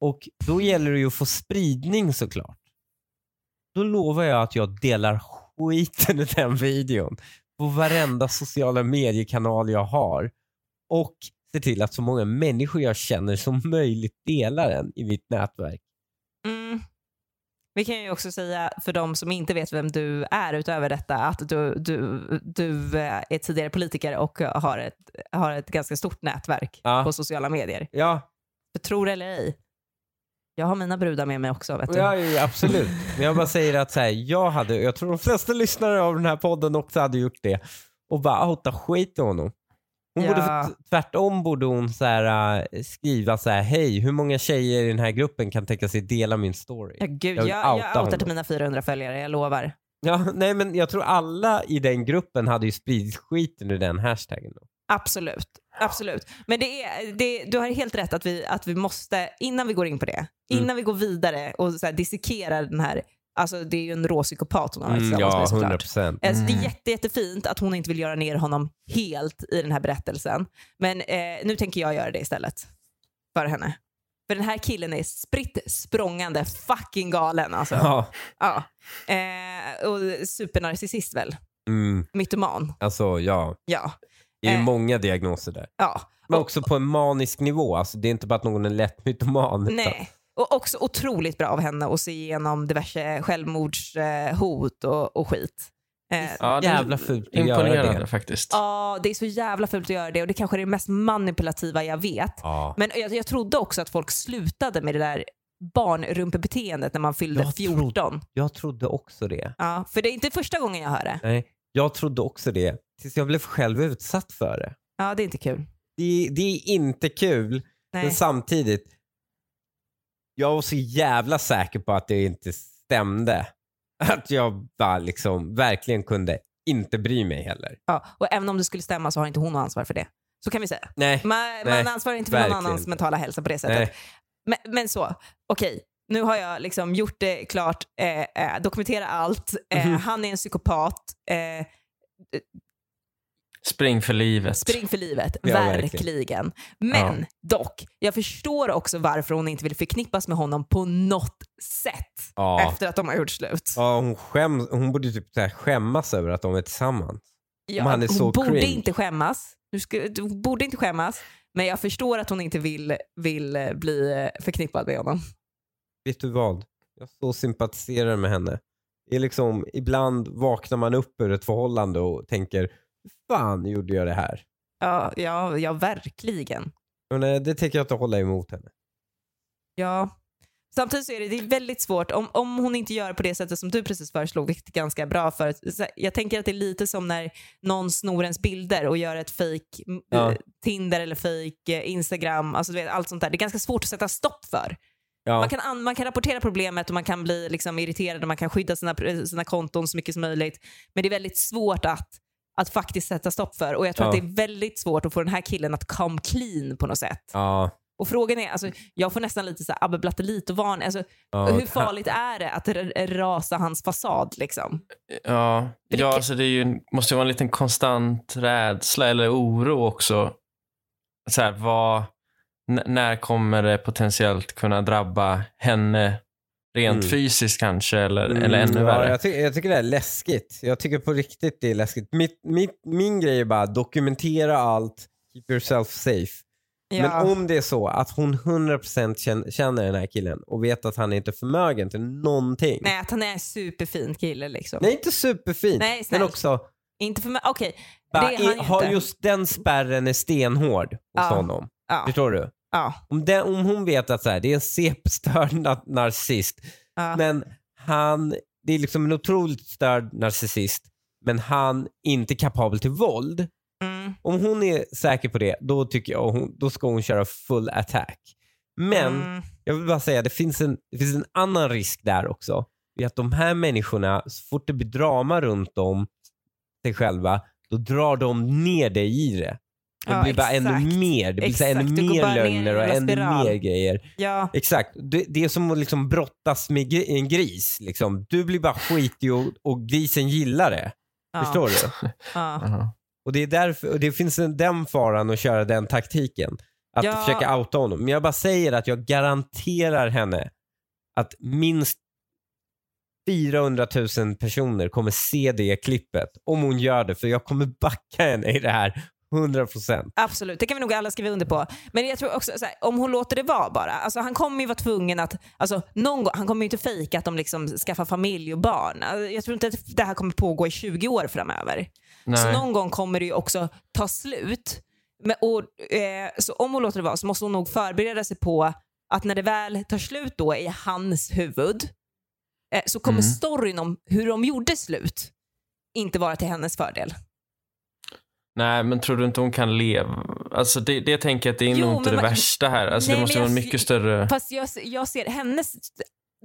Speaker 1: Och då gäller det ju att få spridning såklart. Då lovar jag att jag delar skiten i den videon på varenda sociala mediekanal jag har och ser till att så många människor jag känner som möjligt delar den i mitt nätverk.
Speaker 2: Mm. Vi kan ju också säga för de som inte vet vem du är utöver detta att du, du, du eh, är tidigare politiker och har ett, har ett ganska stort nätverk
Speaker 1: Ja.
Speaker 2: på sociala medier.
Speaker 1: Ja,
Speaker 2: För tror eller ej, jag har mina brudar med mig också. Vet du.
Speaker 1: Ja, ja, absolut. Men jag bara säger att så här, jag hade, jag tror de flesta lyssnare av den här podden också hade gjort det och bara outa skit i honom. Hon
Speaker 2: Ja.
Speaker 1: borde, tvärtom borde hon så här, äh, skriva så här, hej, hur många tjejer i den här gruppen kan tänka sig dela min story?
Speaker 2: Ja, gud,
Speaker 1: Jag
Speaker 2: jag,
Speaker 1: vill
Speaker 2: jag,
Speaker 1: outa
Speaker 2: outar till
Speaker 1: honom.
Speaker 2: mina 400 följare, jag lovar.
Speaker 1: Ja, nej, men jag tror alla i den gruppen hade ju spridit skiten ur den hashtaggen. Då.
Speaker 2: Absolut. Absolut. Men det är, det, du har helt rätt att vi, att vi måste, innan vi går in på det,
Speaker 1: Mm.
Speaker 2: innan vi går vidare och så här dissekerar den här, alltså det är ju en rå psykopat hon har
Speaker 1: Mm,
Speaker 2: varit tillsammans med såklart.
Speaker 1: procent.
Speaker 2: Alltså, det är jätte, jättefint att hon inte vill göra ner honom helt i den här berättelsen. Men eh, nu tänker jag göra det istället för henne. För den här killen är spritt språngande fucking galen alltså.
Speaker 1: Ja,
Speaker 2: Ja. Eh, och supernarcissist väl?
Speaker 1: mm,
Speaker 2: Mytoman.
Speaker 1: alltså ja.
Speaker 2: Ja.
Speaker 1: Det är ju
Speaker 2: Eh.
Speaker 1: många diagnoser där.
Speaker 2: ja.
Speaker 1: Men också på en manisk nivå. Alltså, det är inte bara att någon är lätt mytoman. utan-
Speaker 2: Nej. Och också otroligt bra av henne att se igenom diverse självmordshot och, och skit. Eh,
Speaker 3: Ja, det är
Speaker 1: Jävla fult att göra
Speaker 3: Imponerande
Speaker 1: det.
Speaker 3: faktiskt.
Speaker 2: ja, det är så jävla fult att göra det och det kanske är det mest manipulativa jag vet.
Speaker 1: Ja.
Speaker 2: Men jag, jag trodde också att folk slutade med det där barnrumpebeteendet när man fyllde
Speaker 1: Jag trodde-
Speaker 2: 14.
Speaker 1: Jag trodde också det.
Speaker 2: Ja, för det är inte första gången jag hör det.
Speaker 1: Nej, jag trodde också det. Tills jag blev själv utsatt för det.
Speaker 2: Ja, det är inte kul.
Speaker 1: Det, det är inte kul, men
Speaker 2: Nej.
Speaker 1: samtidigt. Jag var så jävla säker på att det inte stämde. Att jag bara liksom verkligen kunde inte bry mig heller.
Speaker 2: Ja, och även om det skulle stämma så har inte hon något ansvar för det. Så kan vi säga.
Speaker 1: Nej.
Speaker 2: Man,
Speaker 1: Nej,
Speaker 2: man ansvarar inte för någon
Speaker 1: verkligen
Speaker 2: annans
Speaker 1: inte.
Speaker 2: mentala hälsa på det Mm. sättet.
Speaker 1: Nej.
Speaker 2: Men, men så, okej. Nu har jag liksom gjort det klart, eh, eh, dokumentera allt. Eh,
Speaker 1: Mhm.
Speaker 2: Han är en psykopat. Eh,
Speaker 3: Spring för livet.
Speaker 2: spring för livet,
Speaker 1: Ja, verkligen.
Speaker 2: verkligen. Men dock, jag förstår också varför hon inte vill förknippas med honom på något sätt
Speaker 1: Ja.
Speaker 2: efter att de har gjort slut.
Speaker 1: Ja, hon, skäms, hon borde typ så här skämmas över att de är tillsammans.
Speaker 2: Ja,
Speaker 1: Men han är
Speaker 2: hon
Speaker 1: så
Speaker 2: borde
Speaker 1: cringe.
Speaker 2: inte skämmas. Du, ska, du borde inte skämmas. Men jag förstår att hon inte vill, vill eh, bli eh, förknippad med honom.
Speaker 1: Vet du vad? Jag så sympatiserar med henne. Det är liksom, ibland vaknar man upp ur ett förhållande och tänker, "Hur fan gjorde jag det här?
Speaker 2: Ja, ja, ja verkligen.
Speaker 1: Men eh, det tänker jag inte hålla emot henne.
Speaker 2: Ja. Samtidigt så är det, det är väldigt svårt om, om hon inte gör på det sättet som du precis föreslog, vilket är ganska bra. för att- så- Jag tänker att det är lite som när någon snor ens bilder och gör ett fake m-
Speaker 1: Ja.
Speaker 2: eh, Tinder eller fake eh, Instagram, alltså du vet, allt sånt där. Det är ganska svårt att sätta stopp för.
Speaker 1: Ja.
Speaker 2: Man, kan an, man kan rapportera problemet och man kan bli liksom irriterad och man kan skydda sina, pr- sina konton så mycket som möjligt. Men det är väldigt svårt att, att faktiskt sätta stopp för. Och jag tror
Speaker 1: Ja.
Speaker 2: att det är väldigt svårt att få den här killen att come clean på något sätt.
Speaker 1: ja,
Speaker 2: Och frågan är, alltså, jag får nästan lite så här Abbe Blattelito-varning. Alltså,
Speaker 1: ja.
Speaker 2: hur farligt är det att r- rasa hans fasad liksom?
Speaker 3: Ja,
Speaker 2: För det
Speaker 3: ja
Speaker 2: kan-
Speaker 3: alltså det är ju, en- måste ju vara en liten konstant rädsla eller oro också. Så här, vad, n- när kommer det potentiellt kunna drabba henne rent
Speaker 1: Mm.
Speaker 3: fysiskt kanske eller,
Speaker 1: Mm,
Speaker 3: eller ännu
Speaker 1: ja,
Speaker 3: värre?
Speaker 1: Jag, ty- jag tycker det är läskigt. Jag tycker på riktigt det är läskigt. Mitt, mitt, min grej är bara dokumentera allt, keep yourself safe. Men om det är så att hon 100% kän- känner den här killen och vet att han inte är förmögen till någonting.
Speaker 2: Nej, att han är en superfin kille liksom.
Speaker 1: Nej, inte superfint.
Speaker 2: Nej, snäll.
Speaker 1: men också,
Speaker 2: Inte för mig. Okej,
Speaker 1: bara,
Speaker 2: det är
Speaker 1: i,
Speaker 2: han
Speaker 1: har
Speaker 2: inte.
Speaker 1: just den spärren är stenhård hos
Speaker 2: Ja.
Speaker 1: honom.
Speaker 2: ja,
Speaker 1: Förstår du?
Speaker 2: ja,
Speaker 1: Om, den, om hon vet att så här, det är en CP-störd na- narcissist,
Speaker 2: ja.
Speaker 1: men han, det är liksom en otroligt störd narcissist, men han är inte kapabel till våld.
Speaker 2: Mm. Mm.
Speaker 1: Om hon är säker på det, då tycker jag hon, då ska hon köra full attack. Men
Speaker 2: Mm.
Speaker 1: jag vill bara säga, det finns, en, det finns en annan risk där också. Det är att de här människorna, så fort det blir drama runt om sig själva, då drar de ner dig i det. Det
Speaker 2: Ja,
Speaker 1: blir bara
Speaker 2: exakt.
Speaker 1: ännu mer. Det blir så här
Speaker 2: Exakt,
Speaker 1: ännu
Speaker 2: det går bara
Speaker 1: mer
Speaker 2: ner i en
Speaker 1: lögner och
Speaker 2: jävla
Speaker 1: ännu
Speaker 2: spiral.
Speaker 1: mer grejer.
Speaker 2: Ja,
Speaker 1: Exakt. Det, det är som att liksom brottas med gri- en gris. Liksom. Du blir bara skitig och, och grisen gillar det.
Speaker 2: ja,
Speaker 1: Förstår du?
Speaker 2: Ja.
Speaker 3: Aha.
Speaker 1: Och det, är därför, och det finns en, den faran att köra den taktiken. Att
Speaker 2: Ja.
Speaker 1: försöka outa honom. Men jag bara säger att jag garanterar henne att minst 400 000 personer kommer se det klippet. Om hon gör det. För jag kommer backa henne i det här. 100 procent.
Speaker 2: Absolut, det kan vi nog alla skriva under på. Men jag tror också, så här, om hon låter det vara bara. Alltså, han kommer ju vara tvungen att, alltså, någon gång, han kommer ju inte fejka att de liksom skaffar familj och barn. Alltså, jag tror inte att det här kommer pågå i 20 år framöver. Så
Speaker 3: Nej.
Speaker 2: någon gång kommer det ju också ta slut. Men, och, eh, så om hon låter det vara så måste hon nog förbereda sig på att när det väl tar slut då i hans huvud eh, så kommer
Speaker 3: Mm.
Speaker 2: storyn om hur de gjorde slut inte vara till hennes fördel.
Speaker 3: Nej, men tror du inte hon kan leva? Alltså det, det tänker jag att det är
Speaker 2: Jo,
Speaker 3: nog inte det
Speaker 2: men man-
Speaker 3: värsta här. Alltså
Speaker 2: Nej,
Speaker 3: det måste
Speaker 2: men
Speaker 3: vara en
Speaker 2: jag-
Speaker 3: mycket större...
Speaker 2: Fast jag, jag ser hennes...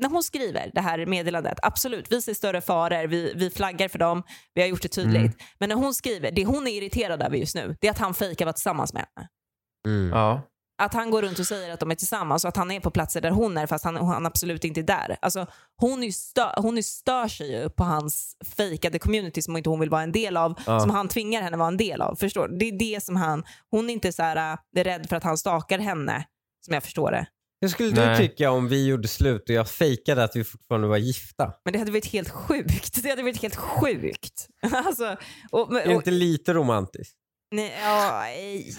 Speaker 2: När hon skriver det här meddelandet, absolut, vi ser större faror, vi, vi flaggar för dem, vi har gjort det tydligt.
Speaker 3: Mm.
Speaker 2: Men när hon skriver, det hon är irriterad över just nu, det är att han fejkar vara tillsammans med henne.
Speaker 3: Ja.
Speaker 2: Att han går runt och säger att de är tillsammans och att han är på platser där hon är fast han, han absolut inte är där. Alltså, hon, är ju stö, hon är stör sig ju på hans fejkade community som inte hon vill vara en del av,
Speaker 1: Ja.
Speaker 2: som han tvingar henne vara en del av. Förstår du? Det är det som han... Hon är inte så här, äh, är rädd för att han stakar henne, som jag förstår det.
Speaker 1: Hur skulle du
Speaker 3: Nej.
Speaker 1: tycka om vi gjorde slut och jag fejkade att vi fortfarande var gifta?
Speaker 2: Men det hade varit helt sjukt. Det hade varit helt sjukt. Alltså, och,
Speaker 1: Är det
Speaker 2: och,
Speaker 1: inte lite romantiskt?
Speaker 2: nej, ja, nej,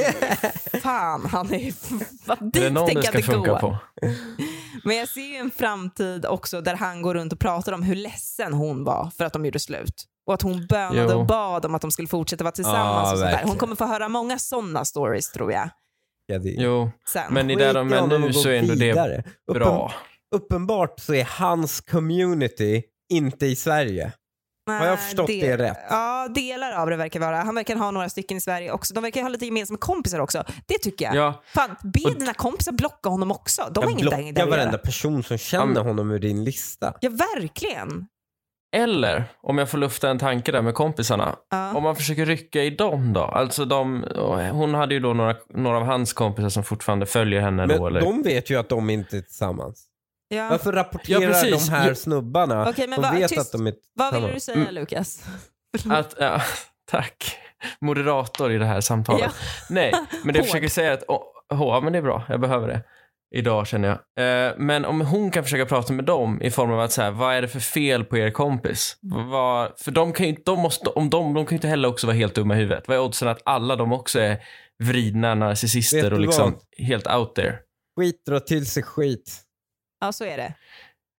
Speaker 2: fan, han är ju... Vad
Speaker 3: Är det
Speaker 2: dit
Speaker 3: någon det
Speaker 2: tänker jag
Speaker 3: ska
Speaker 2: inte
Speaker 3: funka
Speaker 2: gå.
Speaker 3: på?
Speaker 2: Men jag ser ju en framtid också där han går runt och pratar om hur ledsen hon var för att de gjorde slut. Och att hon bönade
Speaker 3: Jo.
Speaker 2: och bad om att de skulle fortsätta vara
Speaker 1: Ja,
Speaker 2: tillsammans. och sånt där. Hon
Speaker 1: verkligen.
Speaker 2: kommer få höra många sådana stories tror jag.
Speaker 1: Ja, det...
Speaker 3: Jo,
Speaker 2: Sen.
Speaker 3: men i där de
Speaker 1: Skit i
Speaker 3: är
Speaker 1: honom
Speaker 3: nu
Speaker 1: och gå
Speaker 3: så är ändå det
Speaker 1: vidare. Uppen-
Speaker 3: bra.
Speaker 1: Uppenbart så är hans community inte i Sverige. har jag
Speaker 2: Nej,
Speaker 1: förstått det rätt?
Speaker 2: Äh, Ja, delar av det verkar vara. Han verkar ha några stycken i Sverige också. De verkar ha lite gemensamma kompisar också. Det tycker jag.
Speaker 3: Ja,
Speaker 2: Fan, be
Speaker 3: Och-
Speaker 2: dina kompisar blocka honom också. De har
Speaker 1: Jag
Speaker 2: inget där att
Speaker 1: blockar
Speaker 2: göra.
Speaker 1: varenda person som
Speaker 3: Ja,
Speaker 1: känner
Speaker 3: men-
Speaker 1: honom ur din lista.
Speaker 2: Ja, verkligen.
Speaker 3: eller om jag får lufta en tanke där med kompisarna.
Speaker 2: Ja.
Speaker 3: Om man försöker rycka i dem då? Alltså de, hon hade ju då några, några av hans kompisar som fortfarande följer henne då.
Speaker 1: Men
Speaker 3: Eller?
Speaker 1: de vet ju att de inte är tillsammans.
Speaker 2: Ja.
Speaker 1: Varför rapporterar
Speaker 3: Ja, precis.
Speaker 1: de här
Speaker 3: Ja.
Speaker 1: snubbarna?
Speaker 2: Okej, men
Speaker 1: de
Speaker 2: vad-
Speaker 1: vet
Speaker 2: tyst.
Speaker 1: att de Mm. inte...
Speaker 2: Vad ville
Speaker 1: Samma.
Speaker 2: du säga, Lukas?
Speaker 3: Att, ja, tack. Moderator i det här samtalet.
Speaker 2: Ja.
Speaker 3: Nej, men det
Speaker 2: Hård.
Speaker 3: jag försöker säga är att, oh, ja men det är bra, jag behöver det. Idag känner jag. Eh, men om hon kan försöka prata med dem i form av att så här, vad är det för fel på er kompis? Vad, för de kan ju inte, de måste, om de, de kan ju inte heller också vara helt dumma i huvudet. Vad är oddsen att alla de också är vridna
Speaker 1: Vet
Speaker 3: narcissister
Speaker 1: du
Speaker 3: och liksom helt out there?
Speaker 1: Skit drar till sig skit.
Speaker 2: Ja, så är det.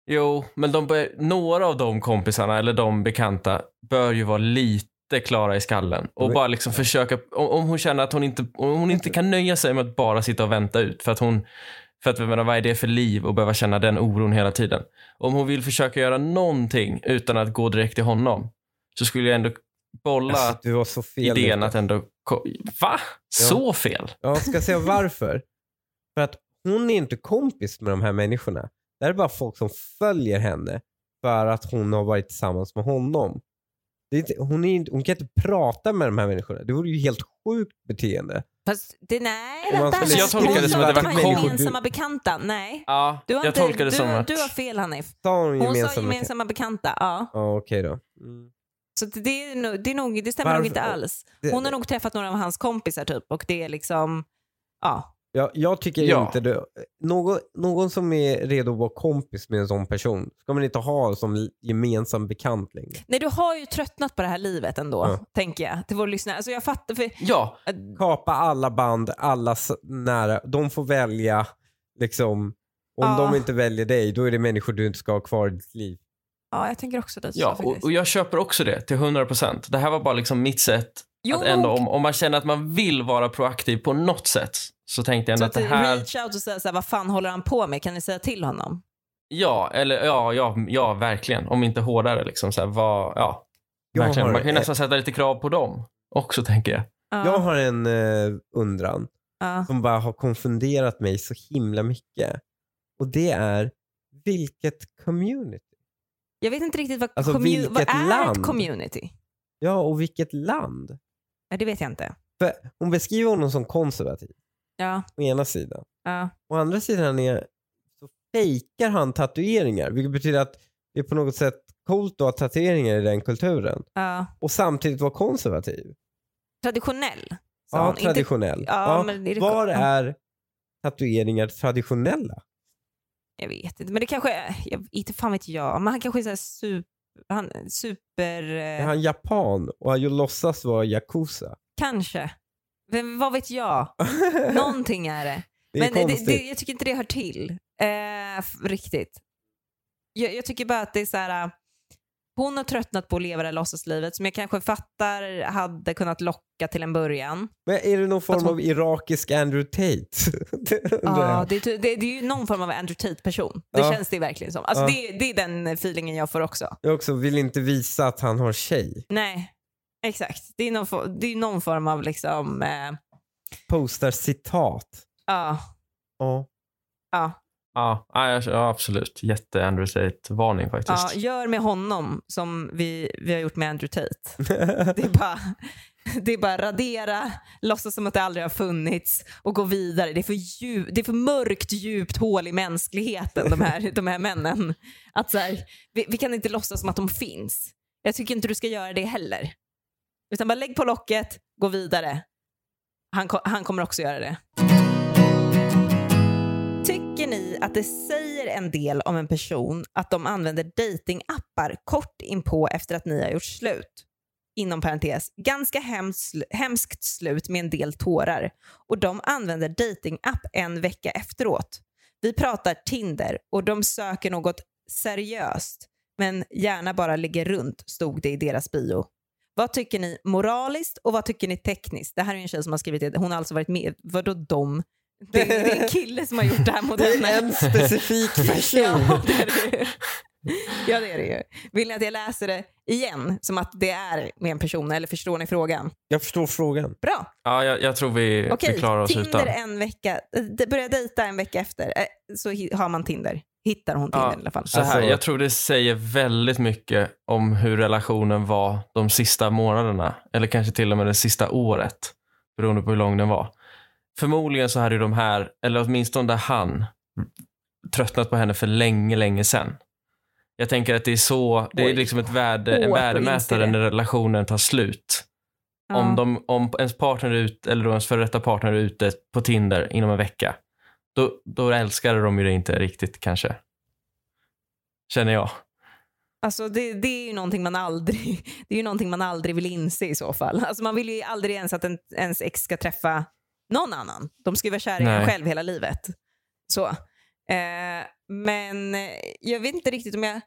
Speaker 3: Jo, men de bör, några av de kompisarna eller de bekanta bör ju vara lite klara i skallen och
Speaker 1: Men-
Speaker 3: bara liksom försöka, om, om hon känner att hon inte, om hon inte kan nöja sig med att bara sitta och vänta ut för att hon, för att jag menar, vad är det för liv och behöva känna den oron hela tiden? Om hon vill försöka göra någonting utan att gå direkt till honom så skulle jag ändå bolla
Speaker 1: Alltså, du var så fel.
Speaker 3: idén
Speaker 1: Lukas.
Speaker 3: att ändå, ko- va? Så fel?
Speaker 1: Jag ska säga varför. För att hon är inte kompis med de här människorna. Det här är bara folk som följer henne för att hon har varit tillsammans med honom. Det är inte, hon, är inte, hon kan inte prata med de här människorna. Det vore ju helt sjukt beteende.
Speaker 2: Fast det, nej,
Speaker 1: Om man
Speaker 2: vänta.
Speaker 1: skulle
Speaker 3: Alltså, Jag tolkar det
Speaker 2: Hon
Speaker 3: som
Speaker 2: sa
Speaker 3: att det
Speaker 2: de
Speaker 3: var
Speaker 2: här
Speaker 3: kom-
Speaker 2: gemensamma bekanta. Nej.
Speaker 3: Ja,
Speaker 2: Du har
Speaker 3: jag
Speaker 2: inte,
Speaker 3: tolkar det
Speaker 2: du,
Speaker 3: som att...
Speaker 2: du har fel, Hanif.
Speaker 1: Sa hon
Speaker 2: Hon
Speaker 1: gemensamma?
Speaker 2: sa gemensamma bekanta. Ja.
Speaker 1: Ja, okej då. Mm.
Speaker 2: Så det, det, är nog, det, är nog, det stämmer nog
Speaker 1: Varför-
Speaker 2: inte alls.
Speaker 1: Det-
Speaker 2: Hon har nog träffat några av hans kompisar typ och det är liksom... Ja.
Speaker 1: Jag, jag tycker
Speaker 3: Ja.
Speaker 1: inte du, någon, någon som är redo att vara kompis med en sån person ska man inte ha som gemensam bekant längre.
Speaker 2: Nej, du har ju tröttnat på det här livet ändå,
Speaker 1: Ja.
Speaker 2: tänker jag. Till våra lyssnare. Alltså jag fattar. För,
Speaker 3: Ja,
Speaker 1: Kapa alla band, alla s- nära. De får välja. Liksom, om
Speaker 2: Ja.
Speaker 1: de inte väljer dig, då är det människor du inte ska ha kvar i ditt liv.
Speaker 2: ja, jag tänker också det. så
Speaker 3: Ja, och,
Speaker 2: faktiskt.
Speaker 3: och jag köper också det till 100%. Det här var bara liksom mitt sätt
Speaker 2: Jo,
Speaker 3: att
Speaker 2: men
Speaker 3: ändå,
Speaker 2: hon-
Speaker 3: om, om man känner att man vill vara proaktiv på något sätt, så tänkte jag
Speaker 2: Så
Speaker 3: ändå
Speaker 2: att
Speaker 3: att det här,
Speaker 2: reach out och säga så här, vad fan håller han på med? Kan ni säga till honom?
Speaker 3: ja, eller ja, ja, ja verkligen, om inte hårdare liksom så här, vad, ja,
Speaker 1: Jag
Speaker 3: verkligen.
Speaker 1: har eh.
Speaker 3: Man kan ju
Speaker 1: ett-
Speaker 3: nästan sätta lite krav på dem också tänker jag.
Speaker 2: Ja.
Speaker 1: Jag har en eh, undran
Speaker 2: ja.
Speaker 1: som bara har konfunderat mig så himla mycket. Och det är, vilket community?
Speaker 2: Jag vet inte riktigt vad,
Speaker 1: Alltså,
Speaker 2: commu- vad
Speaker 1: vilket
Speaker 2: är ett
Speaker 1: land?
Speaker 2: community?
Speaker 1: Ja, och vilket land?
Speaker 2: Ja, det vet jag inte.
Speaker 1: För hon beskriver honom som konservativ,
Speaker 2: Ja,
Speaker 1: å ena sidan.
Speaker 2: ja.
Speaker 1: Å andra sidan är, så fejkar han tatueringar, vilket betyder att det är på något sätt coolt att ha tatueringar i den kulturen.
Speaker 2: ja.
Speaker 1: Och samtidigt vara konservativ.
Speaker 2: Traditionell. sa
Speaker 1: Ja,
Speaker 2: hon. Inte-
Speaker 1: traditionell.
Speaker 2: Ja, men är det-
Speaker 1: Var
Speaker 2: ja.
Speaker 1: är tatueringar traditionella?
Speaker 2: Jag vet inte, men det kanske är, jag, inte fan vet jag, men han kanske är så här super, han, super eh,
Speaker 1: Är han japan och han ju låtsas vara yakuza?
Speaker 2: kanske. Vem, vad vet jag? Någonting är det.
Speaker 1: det är
Speaker 2: men det,
Speaker 1: konstigt.
Speaker 2: det, jag tycker inte det hör till eh, f- riktigt. Jag, jag tycker bara att det är så här, eh, hon har tröttnat på att leva det här låtsaslivet som jag kanske fattar hade kunnat locka till en början.
Speaker 1: Men är det någon form
Speaker 2: Fast hon-
Speaker 1: av irakisk Andrew Tate? det undrar
Speaker 2: Ja,
Speaker 1: jag.
Speaker 2: det, är ty- det, det är ju någon form av Andrew Tate-person. Det
Speaker 1: Ja.
Speaker 2: känns det verkligen som. Alltså,
Speaker 1: Ja.
Speaker 2: det, det är den feelingen jag får också.
Speaker 1: Jag också vill inte visa att han har tjej.
Speaker 2: Nej, exakt. Det är någon, for- det är någon form av liksom, eh,
Speaker 1: Postar citat.
Speaker 2: ja,
Speaker 1: Ja.
Speaker 2: ja,
Speaker 3: Ja, ja, jag- ja absolut. Jätte Andrew Tate-varning
Speaker 2: ja,
Speaker 3: faktiskt.
Speaker 2: gör med honom som vi, vi har gjort med Andrew Tate. Det är bara, det är bara radera, låtsas som att det aldrig har funnits och gå vidare. Det är för, djup, det är för mörkt, djupt hål i mänskligheten, de här, de här männen. Att så här, vi, vi kan inte låtsas som att de finns. Jag tycker inte du ska göra det heller. Utan bara lägg på locket, gå vidare. Han, ko- han kommer också göra det. Tycker ni att det säger en del om en person att de använder datingappar kort inpå efter att ni har gjort slut? Inom parentes, ganska hems- hemskt slut med en del tårar. Och de använder datingapp en vecka efteråt. Vi pratar Tinder och de söker något seriöst men gärna bara ligger runt, stod det i deras bio. Vad tycker ni moraliskt och vad tycker ni tekniskt? Det här är ju en tjej som har skrivit det. Hon har alltså varit med. Vadå de? Det är, det är en kille som har gjort det här mot
Speaker 1: Det
Speaker 2: henne.
Speaker 1: är en specifik person.
Speaker 2: Ja, det är det ju. Ja, det är det ju. Vill ni att jag läser det igen som att det är med en person eller förstår ni frågan?
Speaker 1: Jag förstår frågan.
Speaker 2: Bra,
Speaker 3: Ja, jag, jag tror vi, vi
Speaker 2: okej.
Speaker 3: klarar oss utan.
Speaker 2: Tinder en vecka, eh, d- börja dejta en vecka efter eh, så hi- har man Tinder. Hittar hon Tinder
Speaker 3: Ja,
Speaker 2: i alla fall.
Speaker 3: Så här,
Speaker 1: Alltså-
Speaker 3: jag tror det säger väldigt mycket om hur relationen var de sista månaderna. Eller kanske till och med det sista året. Beroende på hur lång den var. Förmodligen så hade ju de här, eller åtminstone där han, tröttnat på henne för länge, länge sedan. Jag tänker att det är så, det
Speaker 2: Oj.
Speaker 3: är liksom ett värde, en
Speaker 2: Hårt att
Speaker 3: värdemätare
Speaker 2: inse det.
Speaker 3: när relationen tar slut.
Speaker 2: Ja.
Speaker 3: Om, de, om ens partner är ute, eller då ens före detta partner är ute på Tinder inom en vecka, då, då älskar de ju det inte riktigt kanske. Känner jag.
Speaker 2: Alltså det, det är ju någonting man aldrig, det är ju någonting man aldrig vill inse i så fall. Alltså man vill ju aldrig ens att en, ens ex ska träffa någon annan. De ska ju vara kära i en
Speaker 3: Nej.
Speaker 2: själv hela livet. Så. Eh, men eh, jag vet inte riktigt om jag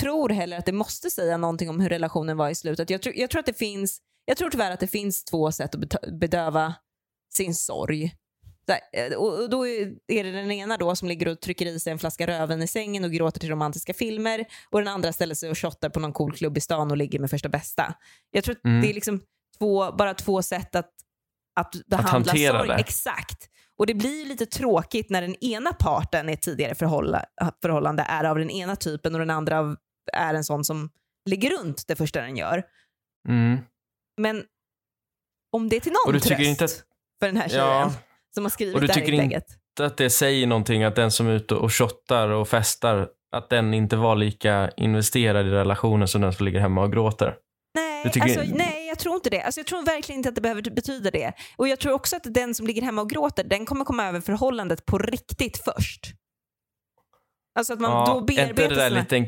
Speaker 2: tror heller att det måste säga någonting om hur relationen var i slutet. Jag tror, jag tror att det finns, jag tror tyvärr att det finns två sätt att betö- bedöva sin sorg. Så här, eh, Och och då är är det den ena då som ligger och trycker i sig en flaska röven i sängen och gråter till romantiska filmer och den andra ställer sig och shottar på någon cool klubb i stan och ligger med första bästa. Jag tror att
Speaker 3: Mm.
Speaker 2: det är liksom två, bara två sätt att, att behandla
Speaker 3: hantera
Speaker 2: sorg.
Speaker 3: det.
Speaker 2: Exakt. Och det blir ju lite tråkigt när den ena parten i ett tidigare förhålla, förhållande är av den ena typen och den andra av, är en sån som ligger runt det första den gör.
Speaker 3: Mm.
Speaker 2: Men om det är till någon
Speaker 3: Och du tycker
Speaker 2: tröst
Speaker 3: inte att,
Speaker 2: för den här tjejen
Speaker 3: ja,
Speaker 2: som har skrivit
Speaker 3: Och du
Speaker 2: det här
Speaker 3: tycker in-
Speaker 2: inlägget.
Speaker 3: att det säger någonting att den som är ute och shottar och festar, att den inte var lika investerad i relationen som den som ligger hemma och gråter.
Speaker 2: Nej,
Speaker 3: Du tycker-
Speaker 2: alltså, nej, jag tror inte det. Alltså, jag tror verkligen inte att det behöver betyda det. Och jag tror också att den som ligger hemma och gråter, den kommer komma över förhållandet på riktigt först. Alltså att man då
Speaker 3: är inte det
Speaker 2: bearbetar
Speaker 3: där
Speaker 2: sina...
Speaker 3: lite en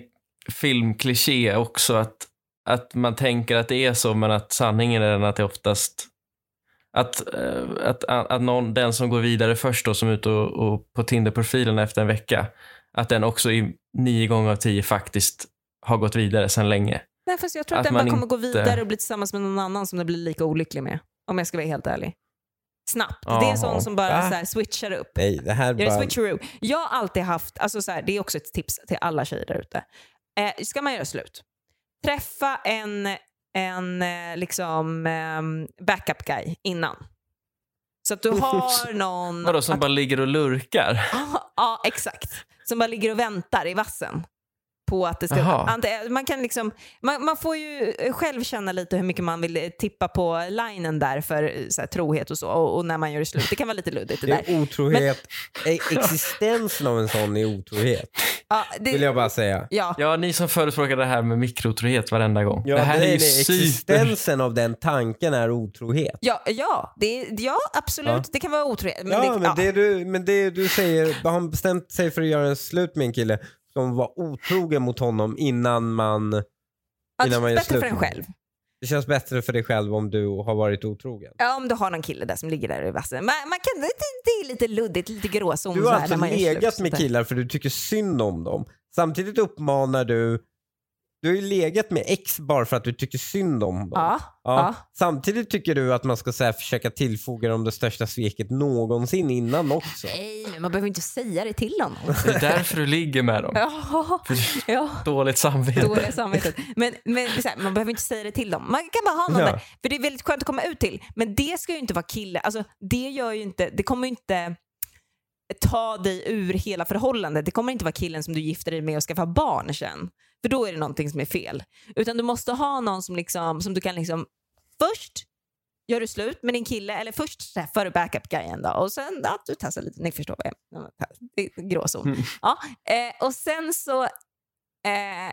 Speaker 3: filmkliché också? Att, att man tänker att det är så, men att sanningen är den att det oftast... Att, eh, att, att, att någon, den som går vidare först då, som är ute och, och på Tinder-profilen efter en vecka, att den också i nio gånger av tio faktiskt har gått vidare sedan länge.
Speaker 2: Nej, fast jag tror att,
Speaker 3: att
Speaker 2: den bara
Speaker 3: man
Speaker 2: kommer gå
Speaker 3: inte-
Speaker 2: vidare och bli tillsammans med någon annan som den blir lika olycklig med. Om jag ska vara helt ärlig. Snabbt. Det är
Speaker 3: Jaha.
Speaker 2: sån som bara
Speaker 1: Va?
Speaker 3: Äh.
Speaker 2: så här, switchar upp.
Speaker 1: Nej, det här
Speaker 2: Jag är
Speaker 1: bara...
Speaker 2: switcheroo. Jag har alltid haft, alltså så här, det är också ett tips till alla tjejer där ute. Eh, ska man göra slut, träffa en, en eh, liksom, eh, backup guy innan. Så att du har någon...
Speaker 3: Vadå, som bara ligger och lurkar?
Speaker 2: Ja, ja, exakt. Som bara ligger och väntar i vassen. På att det ska,
Speaker 3: Jaha.
Speaker 2: ante- man, kan liksom, man, man får ju själv känna lite hur mycket man vill eh, tippa på linen där för eh, så här, trohet och så. Och, och när man gör det slut. Det kan vara lite luddigt det
Speaker 1: Det
Speaker 2: där.
Speaker 1: är otrohet. E- Existensen av en sån är otrohet,
Speaker 2: Ja,
Speaker 1: vill
Speaker 2: det,
Speaker 1: jag bara säga.
Speaker 2: ja.
Speaker 3: Ja, ni som förespråkar det här med mikrotrohet varenda gång. det här
Speaker 1: nej,
Speaker 3: är ju
Speaker 1: nej,
Speaker 3: super...
Speaker 1: Existensen av den tanken är otrohet.
Speaker 2: Ja, ja, det, ja absolut.
Speaker 1: Ja.
Speaker 2: Det kan vara otrohet. Men liksom-
Speaker 1: ja,
Speaker 2: det,
Speaker 1: men,
Speaker 2: ja.
Speaker 1: Det du, men det du säger, har han bestämt sig för att göra slut med en kille, ska hon vara otrogen mot honom innan man...
Speaker 2: Ja,
Speaker 1: innan man gör
Speaker 2: alltså, bättre
Speaker 1: slut.
Speaker 2: för en själv.
Speaker 1: Det känns bättre för dig själv om du har varit otrogen.
Speaker 2: Ja, om du har någon kille där som ligger där i vassen. Man, man kan, det, det är lite luddigt, lite gråzon.
Speaker 1: Du
Speaker 2: så
Speaker 1: har
Speaker 2: här
Speaker 1: alltså
Speaker 2: när man gör
Speaker 1: legat
Speaker 2: slut.
Speaker 1: med killar för du tycker synd om dem. Samtidigt uppmanar du... Du har ju legat med ex bara för att du tycker synd om dem.
Speaker 2: Ja,
Speaker 1: Ja.
Speaker 2: ja.
Speaker 1: Samtidigt tycker du att man ska så här, försöka tillfoga dem det största sveket någonsin innan också.
Speaker 2: Nej, men man behöver inte säga det till honom.
Speaker 3: Det är därför du ligger med dem.
Speaker 2: ja,
Speaker 3: För
Speaker 2: ja.
Speaker 3: dåligt samvete.
Speaker 2: Dåliga samvetet. Men, men så här, man behöver inte säga det till dem. Man kan bara ha någon
Speaker 1: Ja.
Speaker 2: där. För det är väldigt skönt att komma ut till. Men det ska ju inte vara kille. Alltså, det, gör ju inte, det kommer ju inte ta dig ur hela förhållandet. Det kommer inte vara killen som du gifter dig med och skaffar barn sen. För då är det någonting som är fel. Utan du måste ha någon som, liksom, som du kan liksom först gör du slut med din kille eller först träffar du backup-guyen då och sen, ja du tassar lite, ni förstår vad jag menar. Det är en gråzon.
Speaker 3: Mm.
Speaker 2: Ja, eh, och sen så eh,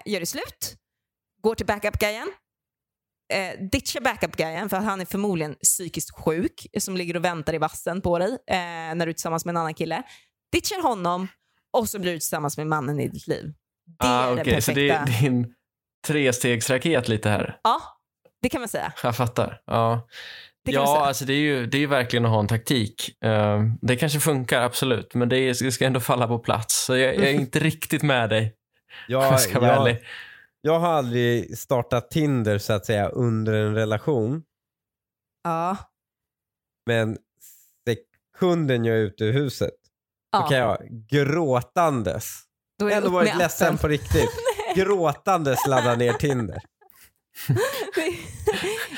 Speaker 2: gör du slut, går till backup-guyen, eh, ditchar backup-guyen för att han är förmodligen psykiskt sjuk som ligger och väntar i vassen på dig eh, när du är tillsammans med en annan kille. Ditchar honom och så blir du tillsammans med mannen i ditt liv. Det
Speaker 3: ah,
Speaker 2: är det
Speaker 3: okej,
Speaker 2: perfekta.
Speaker 3: Så det är din trestegsraket lite här.
Speaker 2: Ja, det kan man säga.
Speaker 3: Jag fattar. Ja,
Speaker 2: Det kan man
Speaker 3: ja
Speaker 2: säga.
Speaker 3: alltså det är ju det är ju verkligen att ha en taktik. Eh, det kanske funkar, absolut, men det, är, det ska ändå falla på plats. Så jag, jag
Speaker 2: Mm.
Speaker 3: är inte riktigt med dig, om
Speaker 1: Jag,
Speaker 3: jag ska vara
Speaker 1: jag,
Speaker 3: ärlig.
Speaker 1: jag har aldrig startat Tinder så att säga under en relation.
Speaker 2: Ja.
Speaker 1: Men sekunden jag är ute ur huset
Speaker 2: Ja,
Speaker 1: då kan jag gråtandes,
Speaker 2: då
Speaker 1: jag
Speaker 2: är det
Speaker 1: har ändå
Speaker 2: upp
Speaker 1: varit
Speaker 2: med
Speaker 1: ledsen
Speaker 2: appen.
Speaker 1: på riktigt, gråtandes ladda ner Tinder.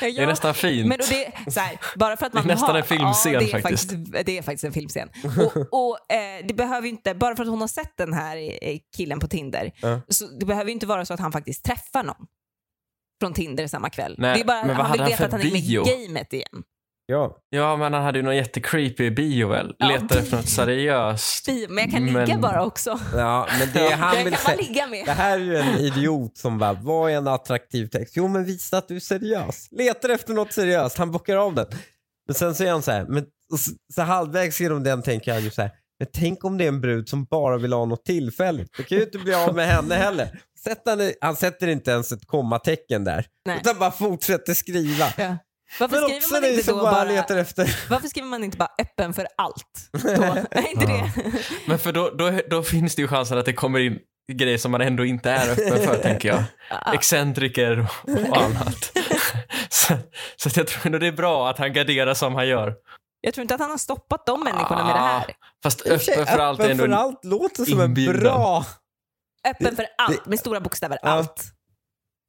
Speaker 2: Ja,
Speaker 3: Det är nästan fint.
Speaker 2: Men och det, så här, bara för att
Speaker 3: Det är
Speaker 2: man
Speaker 3: nästan
Speaker 2: har,
Speaker 3: en filmscen
Speaker 2: ja, det är
Speaker 3: faktiskt.
Speaker 2: Det är faktiskt en filmscen. Och, och eh, det behöver ju inte, bara för att hon har sett den här eh, killen på Tinder,
Speaker 1: Ja.
Speaker 2: så det behöver ju inte vara så att han faktiskt träffar någon från Tinder samma kväll.
Speaker 3: Nej,
Speaker 2: det är bara
Speaker 3: men vad
Speaker 2: att han vill
Speaker 3: hade han
Speaker 2: veta
Speaker 3: för
Speaker 2: att han är med
Speaker 3: bio?
Speaker 2: i gamet igen.
Speaker 1: Ja.
Speaker 3: Ja, men han hade ju någon jättecreepy bio väl?
Speaker 2: Ja,
Speaker 3: Letar efter något seriöst.
Speaker 2: Bio, Men jag kan ligga
Speaker 3: Men-
Speaker 2: bara också.
Speaker 1: ja, men det är han
Speaker 2: Jag
Speaker 1: vill
Speaker 2: kan man
Speaker 1: säga.
Speaker 2: ligga
Speaker 1: Det
Speaker 2: med.
Speaker 1: här är ju en idiot som bara, vad är en attraktiv text? Jo men visa att du är seriös. Letar efter något seriöst, han bockar av den. Men sen så är han så här, men, och så, så halvvägs genom den tänker han ju så här, men tänk om det är en brud som bara vill ha något tillfälligt. Då kan ju inte bli av med henne heller. Sätter han, han sätter inte ens ett kommatecken där.
Speaker 2: Nej.
Speaker 1: Utan bara fortsätter skriva.
Speaker 2: Ja. Varför
Speaker 1: Men
Speaker 2: skriver
Speaker 1: också
Speaker 2: man
Speaker 1: ni
Speaker 2: inte
Speaker 1: som
Speaker 2: då
Speaker 1: bara,
Speaker 2: bara,
Speaker 1: letar efter...
Speaker 2: varför skriver man inte bara öppen för allt? Då? Är inte
Speaker 3: Ja.
Speaker 2: det?
Speaker 3: Men för då, då, då finns det ju chansen att det kommer in grejer som man ändå inte är öppen för, tänker jag. Excentriker och, och annat. så så att jag tror ändå det är bra att han garderar som han gör.
Speaker 2: Jag tror inte att han har stoppat de människorna med det här.
Speaker 3: Fast öppen för allt är
Speaker 1: Öppen
Speaker 3: ändå...
Speaker 1: för allt låter som en
Speaker 3: inbjudan.
Speaker 1: bra...
Speaker 2: Öppen för allt, med stora bokstäver.
Speaker 1: Ja.
Speaker 2: Allt.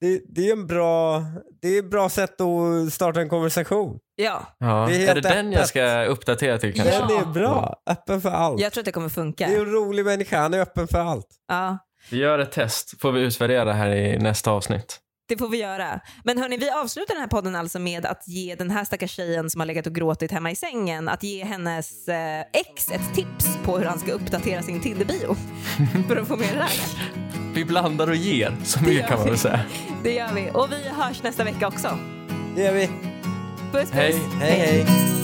Speaker 1: Det, det är en bra... Det är ett bra sätt att starta en konversation.
Speaker 2: Ja,
Speaker 3: Ja.
Speaker 1: Det är
Speaker 3: Är,
Speaker 1: helt
Speaker 3: det den jag
Speaker 1: öppet.
Speaker 3: ska uppdatera till kanske?
Speaker 2: Ja.
Speaker 1: Den är bra. Öppen för allt.
Speaker 2: jag tror att det kommer
Speaker 1: Det
Speaker 2: funka.
Speaker 1: är en rolig människa. Han är öppen för allt.
Speaker 2: Ja,
Speaker 3: Vi gör ett test, får vi utvärdera det här i nästa avsnitt.
Speaker 2: det får vi göra. Men hörni, vi avslutar den här podden alltså med att ge den här stackars tjejen som har legat och gråtit hemma i sängen, att ge hennes eh, ex ett tips på hur han ska uppdatera sin Tinder-bio för att få med det här.
Speaker 3: Vi blandar och ger, så
Speaker 2: gör
Speaker 3: mycket kan man
Speaker 2: vi.
Speaker 3: väl säga.
Speaker 2: Det gör vi. Och vi hörs nästa vecka också.
Speaker 1: Det gör vi.
Speaker 2: Puss, puss.
Speaker 3: Hej.
Speaker 1: Hej, hej.